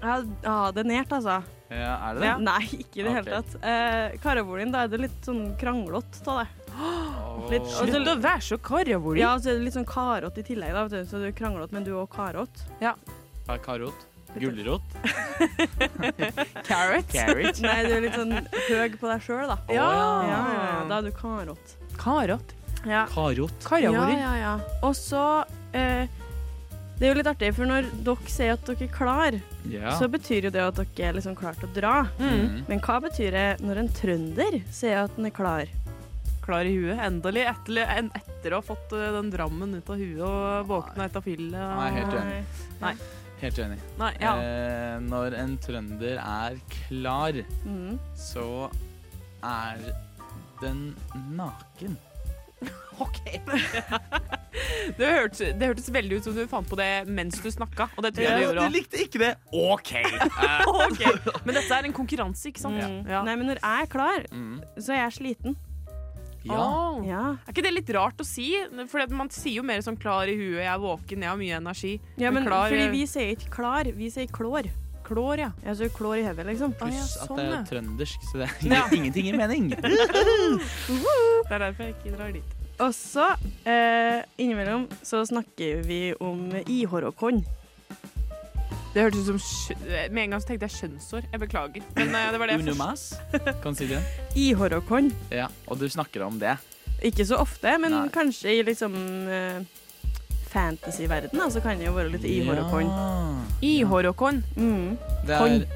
[SPEAKER 2] Ja, ja, det er nært, altså.
[SPEAKER 3] Ja, er det det?
[SPEAKER 2] Nei, ikke i det hele
[SPEAKER 3] Ok.
[SPEAKER 2] tatt. Eh, karavolin, da er det litt sånn kranglete av det.
[SPEAKER 3] Åh.
[SPEAKER 2] Litt- og
[SPEAKER 1] Slutt å være så karavoli.
[SPEAKER 2] Ja, og så er det litt sånn karot i tillegg, da, vet du. Så du er kranglete, men du er òg karot.
[SPEAKER 3] <laughs> Ja, Karot.
[SPEAKER 1] <laughs>
[SPEAKER 3] Gulrot.
[SPEAKER 1] Carrot. <laughs>
[SPEAKER 3] Carrot.
[SPEAKER 2] Nei, du er litt sånn høg på deg sjøl, da.
[SPEAKER 1] Ja.
[SPEAKER 2] Ja, ja, ja, da er du karot.
[SPEAKER 1] Karot.
[SPEAKER 2] Ja.
[SPEAKER 3] Karot.
[SPEAKER 1] Karavoli.
[SPEAKER 2] Ja, ja, ja. Og så eh, Det er jo litt artig, for når dere sier at dere er klar,
[SPEAKER 3] Ja.
[SPEAKER 2] så betyr jo det at dere er liksom klar til å dra.
[SPEAKER 1] Mm.
[SPEAKER 3] Mm.
[SPEAKER 2] Men hva betyr det når en trønder sier at den er klar?
[SPEAKER 1] Klar i huet. Endelig. Etter, en- etter å ha fått eh, den drammen ut av huet og våkna etter fyllet.
[SPEAKER 3] Nei,
[SPEAKER 1] og-
[SPEAKER 3] helt enig.
[SPEAKER 2] Nei.
[SPEAKER 3] Helt enig.
[SPEAKER 1] Nei, ja.
[SPEAKER 3] Eh, når en trønder er klar,
[SPEAKER 2] Mm.
[SPEAKER 3] så er den naken.
[SPEAKER 1] <laughs> Det hørtes, det hørtes veldig ut som du fant på det mens du snakka. Og det tror jeg
[SPEAKER 3] Ja,
[SPEAKER 1] du gjorde
[SPEAKER 2] <laughs>
[SPEAKER 3] du likte ikke det. OK! Eh,
[SPEAKER 1] Ok, Men dette er en konkurranse, ikke sant? Ja.
[SPEAKER 2] sånn. Nei, men når jeg er klar,
[SPEAKER 3] Mm.
[SPEAKER 2] så er jeg sliten.
[SPEAKER 1] Åh. Er ikke det litt rart å si? For at man sier jo mer sånn 'klar i huet', 'jeg er våken', 'jeg har mye energi'.
[SPEAKER 2] Ja, men
[SPEAKER 1] klar,
[SPEAKER 2] fordi
[SPEAKER 1] eh,
[SPEAKER 2] vi sier ikke klar, vi sier klår.
[SPEAKER 1] Klår, ja. sånn,
[SPEAKER 2] Ja, så klår i hodet, liksom.
[SPEAKER 3] Pluss at det er jo trøndersk, så det gir
[SPEAKER 2] Ja.
[SPEAKER 3] <laughs> ingenting
[SPEAKER 1] <laughs>
[SPEAKER 3] i mening.
[SPEAKER 1] Det er derfor jeg ikke drar dit.
[SPEAKER 2] Og så, eh, innimellom, så snakker vi om ihårokon.
[SPEAKER 1] Det hørtes ut som skjø- Med en gang så tenkte jeg skjønnsår. Jeg beklager. Men eh, det var det jeg først-
[SPEAKER 3] Unumas, kan du si det?
[SPEAKER 2] Ihårokon.
[SPEAKER 3] Ja, og du snakker om det.
[SPEAKER 2] Ikke så ofte, men
[SPEAKER 3] Nei.
[SPEAKER 2] kanskje i liksom eh, fantasy-verden, da, så kan det jo være litt ihårokon.
[SPEAKER 1] Ihårokon.
[SPEAKER 2] Mm.
[SPEAKER 3] Det
[SPEAKER 2] Kon.
[SPEAKER 3] er,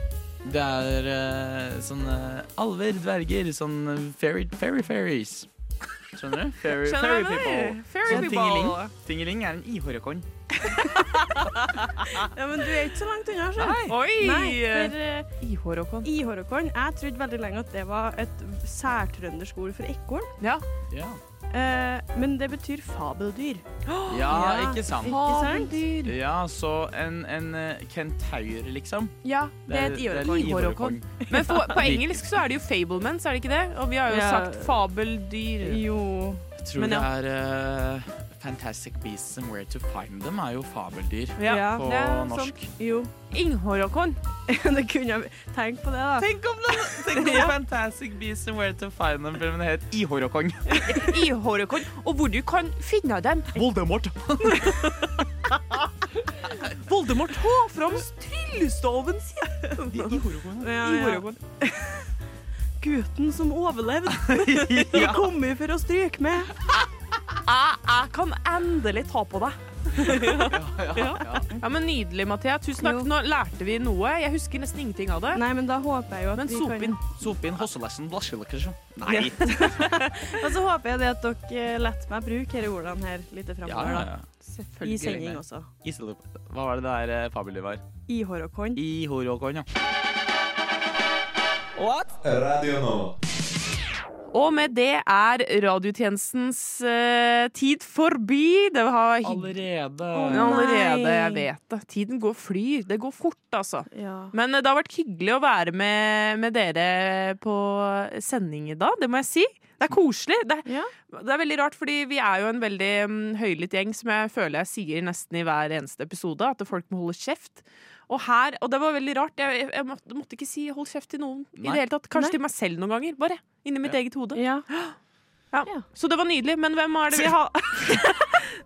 [SPEAKER 3] det er eh, sånne alver, dverger, sånn fairy, fairy fairies. Skjønner du? Fairy,
[SPEAKER 1] Skjønner
[SPEAKER 3] fairy
[SPEAKER 1] du hva jeg mener?
[SPEAKER 3] people.
[SPEAKER 1] Fairy
[SPEAKER 3] Sånn
[SPEAKER 1] people.
[SPEAKER 3] Tingeling. Tingeling er en ihårekon.
[SPEAKER 2] Ja, men du er ikke så langt unna, sjøl.
[SPEAKER 1] Oi!
[SPEAKER 2] Nei, for eh,
[SPEAKER 1] Ihårokon.
[SPEAKER 2] ihårokon Jeg trodde veldig lenge at det var et særtrøndersk ord for ekorn.
[SPEAKER 1] Ja.
[SPEAKER 3] Ja.
[SPEAKER 2] Eh, men det betyr fabeldyr.
[SPEAKER 3] Ja, ikke sant.
[SPEAKER 2] Ikke sant?
[SPEAKER 3] Ja, så en, en eh, kentaur, liksom.
[SPEAKER 1] Ja, det er et ihårokon. Men for, på engelsk så er det jo fablements, er det ikke det? Og vi har jo
[SPEAKER 2] Ja.
[SPEAKER 1] sagt fabeldyr.
[SPEAKER 2] Jo.
[SPEAKER 3] Jeg tror
[SPEAKER 1] Men
[SPEAKER 3] det
[SPEAKER 1] ja.
[SPEAKER 3] er eh, Fantastic Beasts and Where to Find Them er jo fabeldyr
[SPEAKER 1] Ja,
[SPEAKER 3] på
[SPEAKER 1] det er
[SPEAKER 3] norsk. <laughs>
[SPEAKER 1] sant.
[SPEAKER 2] Jo. <laughs>
[SPEAKER 1] Inghårokon.
[SPEAKER 2] det kunne jeg Tenk på det, da.
[SPEAKER 3] Tenk om, den,
[SPEAKER 1] <laughs>
[SPEAKER 3] tenk om Fantastic Beasts and Where to Find Them-filmen het
[SPEAKER 1] <laughs>
[SPEAKER 3] Ihårokong.
[SPEAKER 1] Ihårokon. Og hvor du kan finne dem.
[SPEAKER 3] Voldemort.
[SPEAKER 1] Voldemort H. fram tryllestaven sin.
[SPEAKER 2] <laughs> Ja, ja.
[SPEAKER 1] Ihårokon.
[SPEAKER 2] <laughs> Gutten som overlevde.
[SPEAKER 3] <laughs> Ja.
[SPEAKER 2] Jeg kom jo for å stryke med.
[SPEAKER 1] Jeg, jeg kan endelig ta på deg.
[SPEAKER 3] ja.
[SPEAKER 1] Ja, men Nydelig, Mathea. Tusen takk.
[SPEAKER 2] Jo.
[SPEAKER 1] Nå lærte vi noe. Jeg husker nesten ingenting av det.
[SPEAKER 2] Nei, men da håper jeg jo at
[SPEAKER 1] Men
[SPEAKER 2] vi
[SPEAKER 1] sop inn.
[SPEAKER 3] Sop inn Hosselassen Blasjelakers. Nei.
[SPEAKER 2] kan <laughs> Og så håper jeg det at dere lar meg bruke disse ordene her litt framover, da. I sending også.
[SPEAKER 3] Iselup. Hva var det der eh, fabeldyr var?
[SPEAKER 2] Ihårokon.
[SPEAKER 3] Ihårokon, ja.
[SPEAKER 7] Radio Nova.
[SPEAKER 1] Og med det er radiotjenestens eh, tid forbi. Det var hyggelig
[SPEAKER 3] Allerede.
[SPEAKER 2] Å, nei.
[SPEAKER 1] allerede. Jeg vet det. Tiden går flyr. Det går fort, altså.
[SPEAKER 2] Ja.
[SPEAKER 1] Men det har vært hyggelig å være med, med dere på sending i dag, det må jeg si. Det er koselig. Det,
[SPEAKER 2] Ja.
[SPEAKER 1] det er veldig rart, fordi vi er jo en veldig mm, høylytt gjeng som jeg føler jeg sier nesten i hver eneste episode, at folk må holde kjeft. Og her, og det var veldig rart, jeg, jeg, jeg måtte, måtte ikke si hold kjeft til noen i
[SPEAKER 3] Nei.
[SPEAKER 1] det hele tatt.
[SPEAKER 2] Nei.
[SPEAKER 1] Kanskje til meg selv noen ganger, bare. Inni mitt
[SPEAKER 3] Ja.
[SPEAKER 1] eget hode.
[SPEAKER 2] ja.
[SPEAKER 1] Ja.
[SPEAKER 2] Ja.
[SPEAKER 1] Så det var nydelig, men hvem er det vi har? <laughs>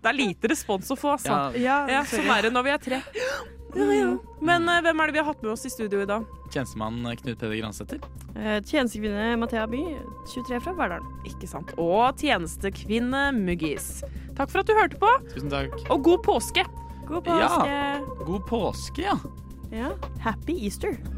[SPEAKER 1] det er lite respons å få, altså.
[SPEAKER 3] Ja,
[SPEAKER 1] Ja,
[SPEAKER 2] sorry.
[SPEAKER 1] sånn er det når vi er tre. Ja, ja. Men eh, hvem er det vi har hatt med oss i studio i dag?
[SPEAKER 3] Tjenestemann Knut Peder Gransæter.
[SPEAKER 2] Eh, Tjenestekvinne Mathea By, 23 fra Verdalen.
[SPEAKER 1] Ikke sant. Og tjenestekvinne Muggis. Takk for at du hørte på,
[SPEAKER 3] Tusen takk.
[SPEAKER 1] og god påske!
[SPEAKER 2] God
[SPEAKER 3] Ja.
[SPEAKER 2] påske.
[SPEAKER 3] God påske, ja.
[SPEAKER 2] Ja. Happy Easter.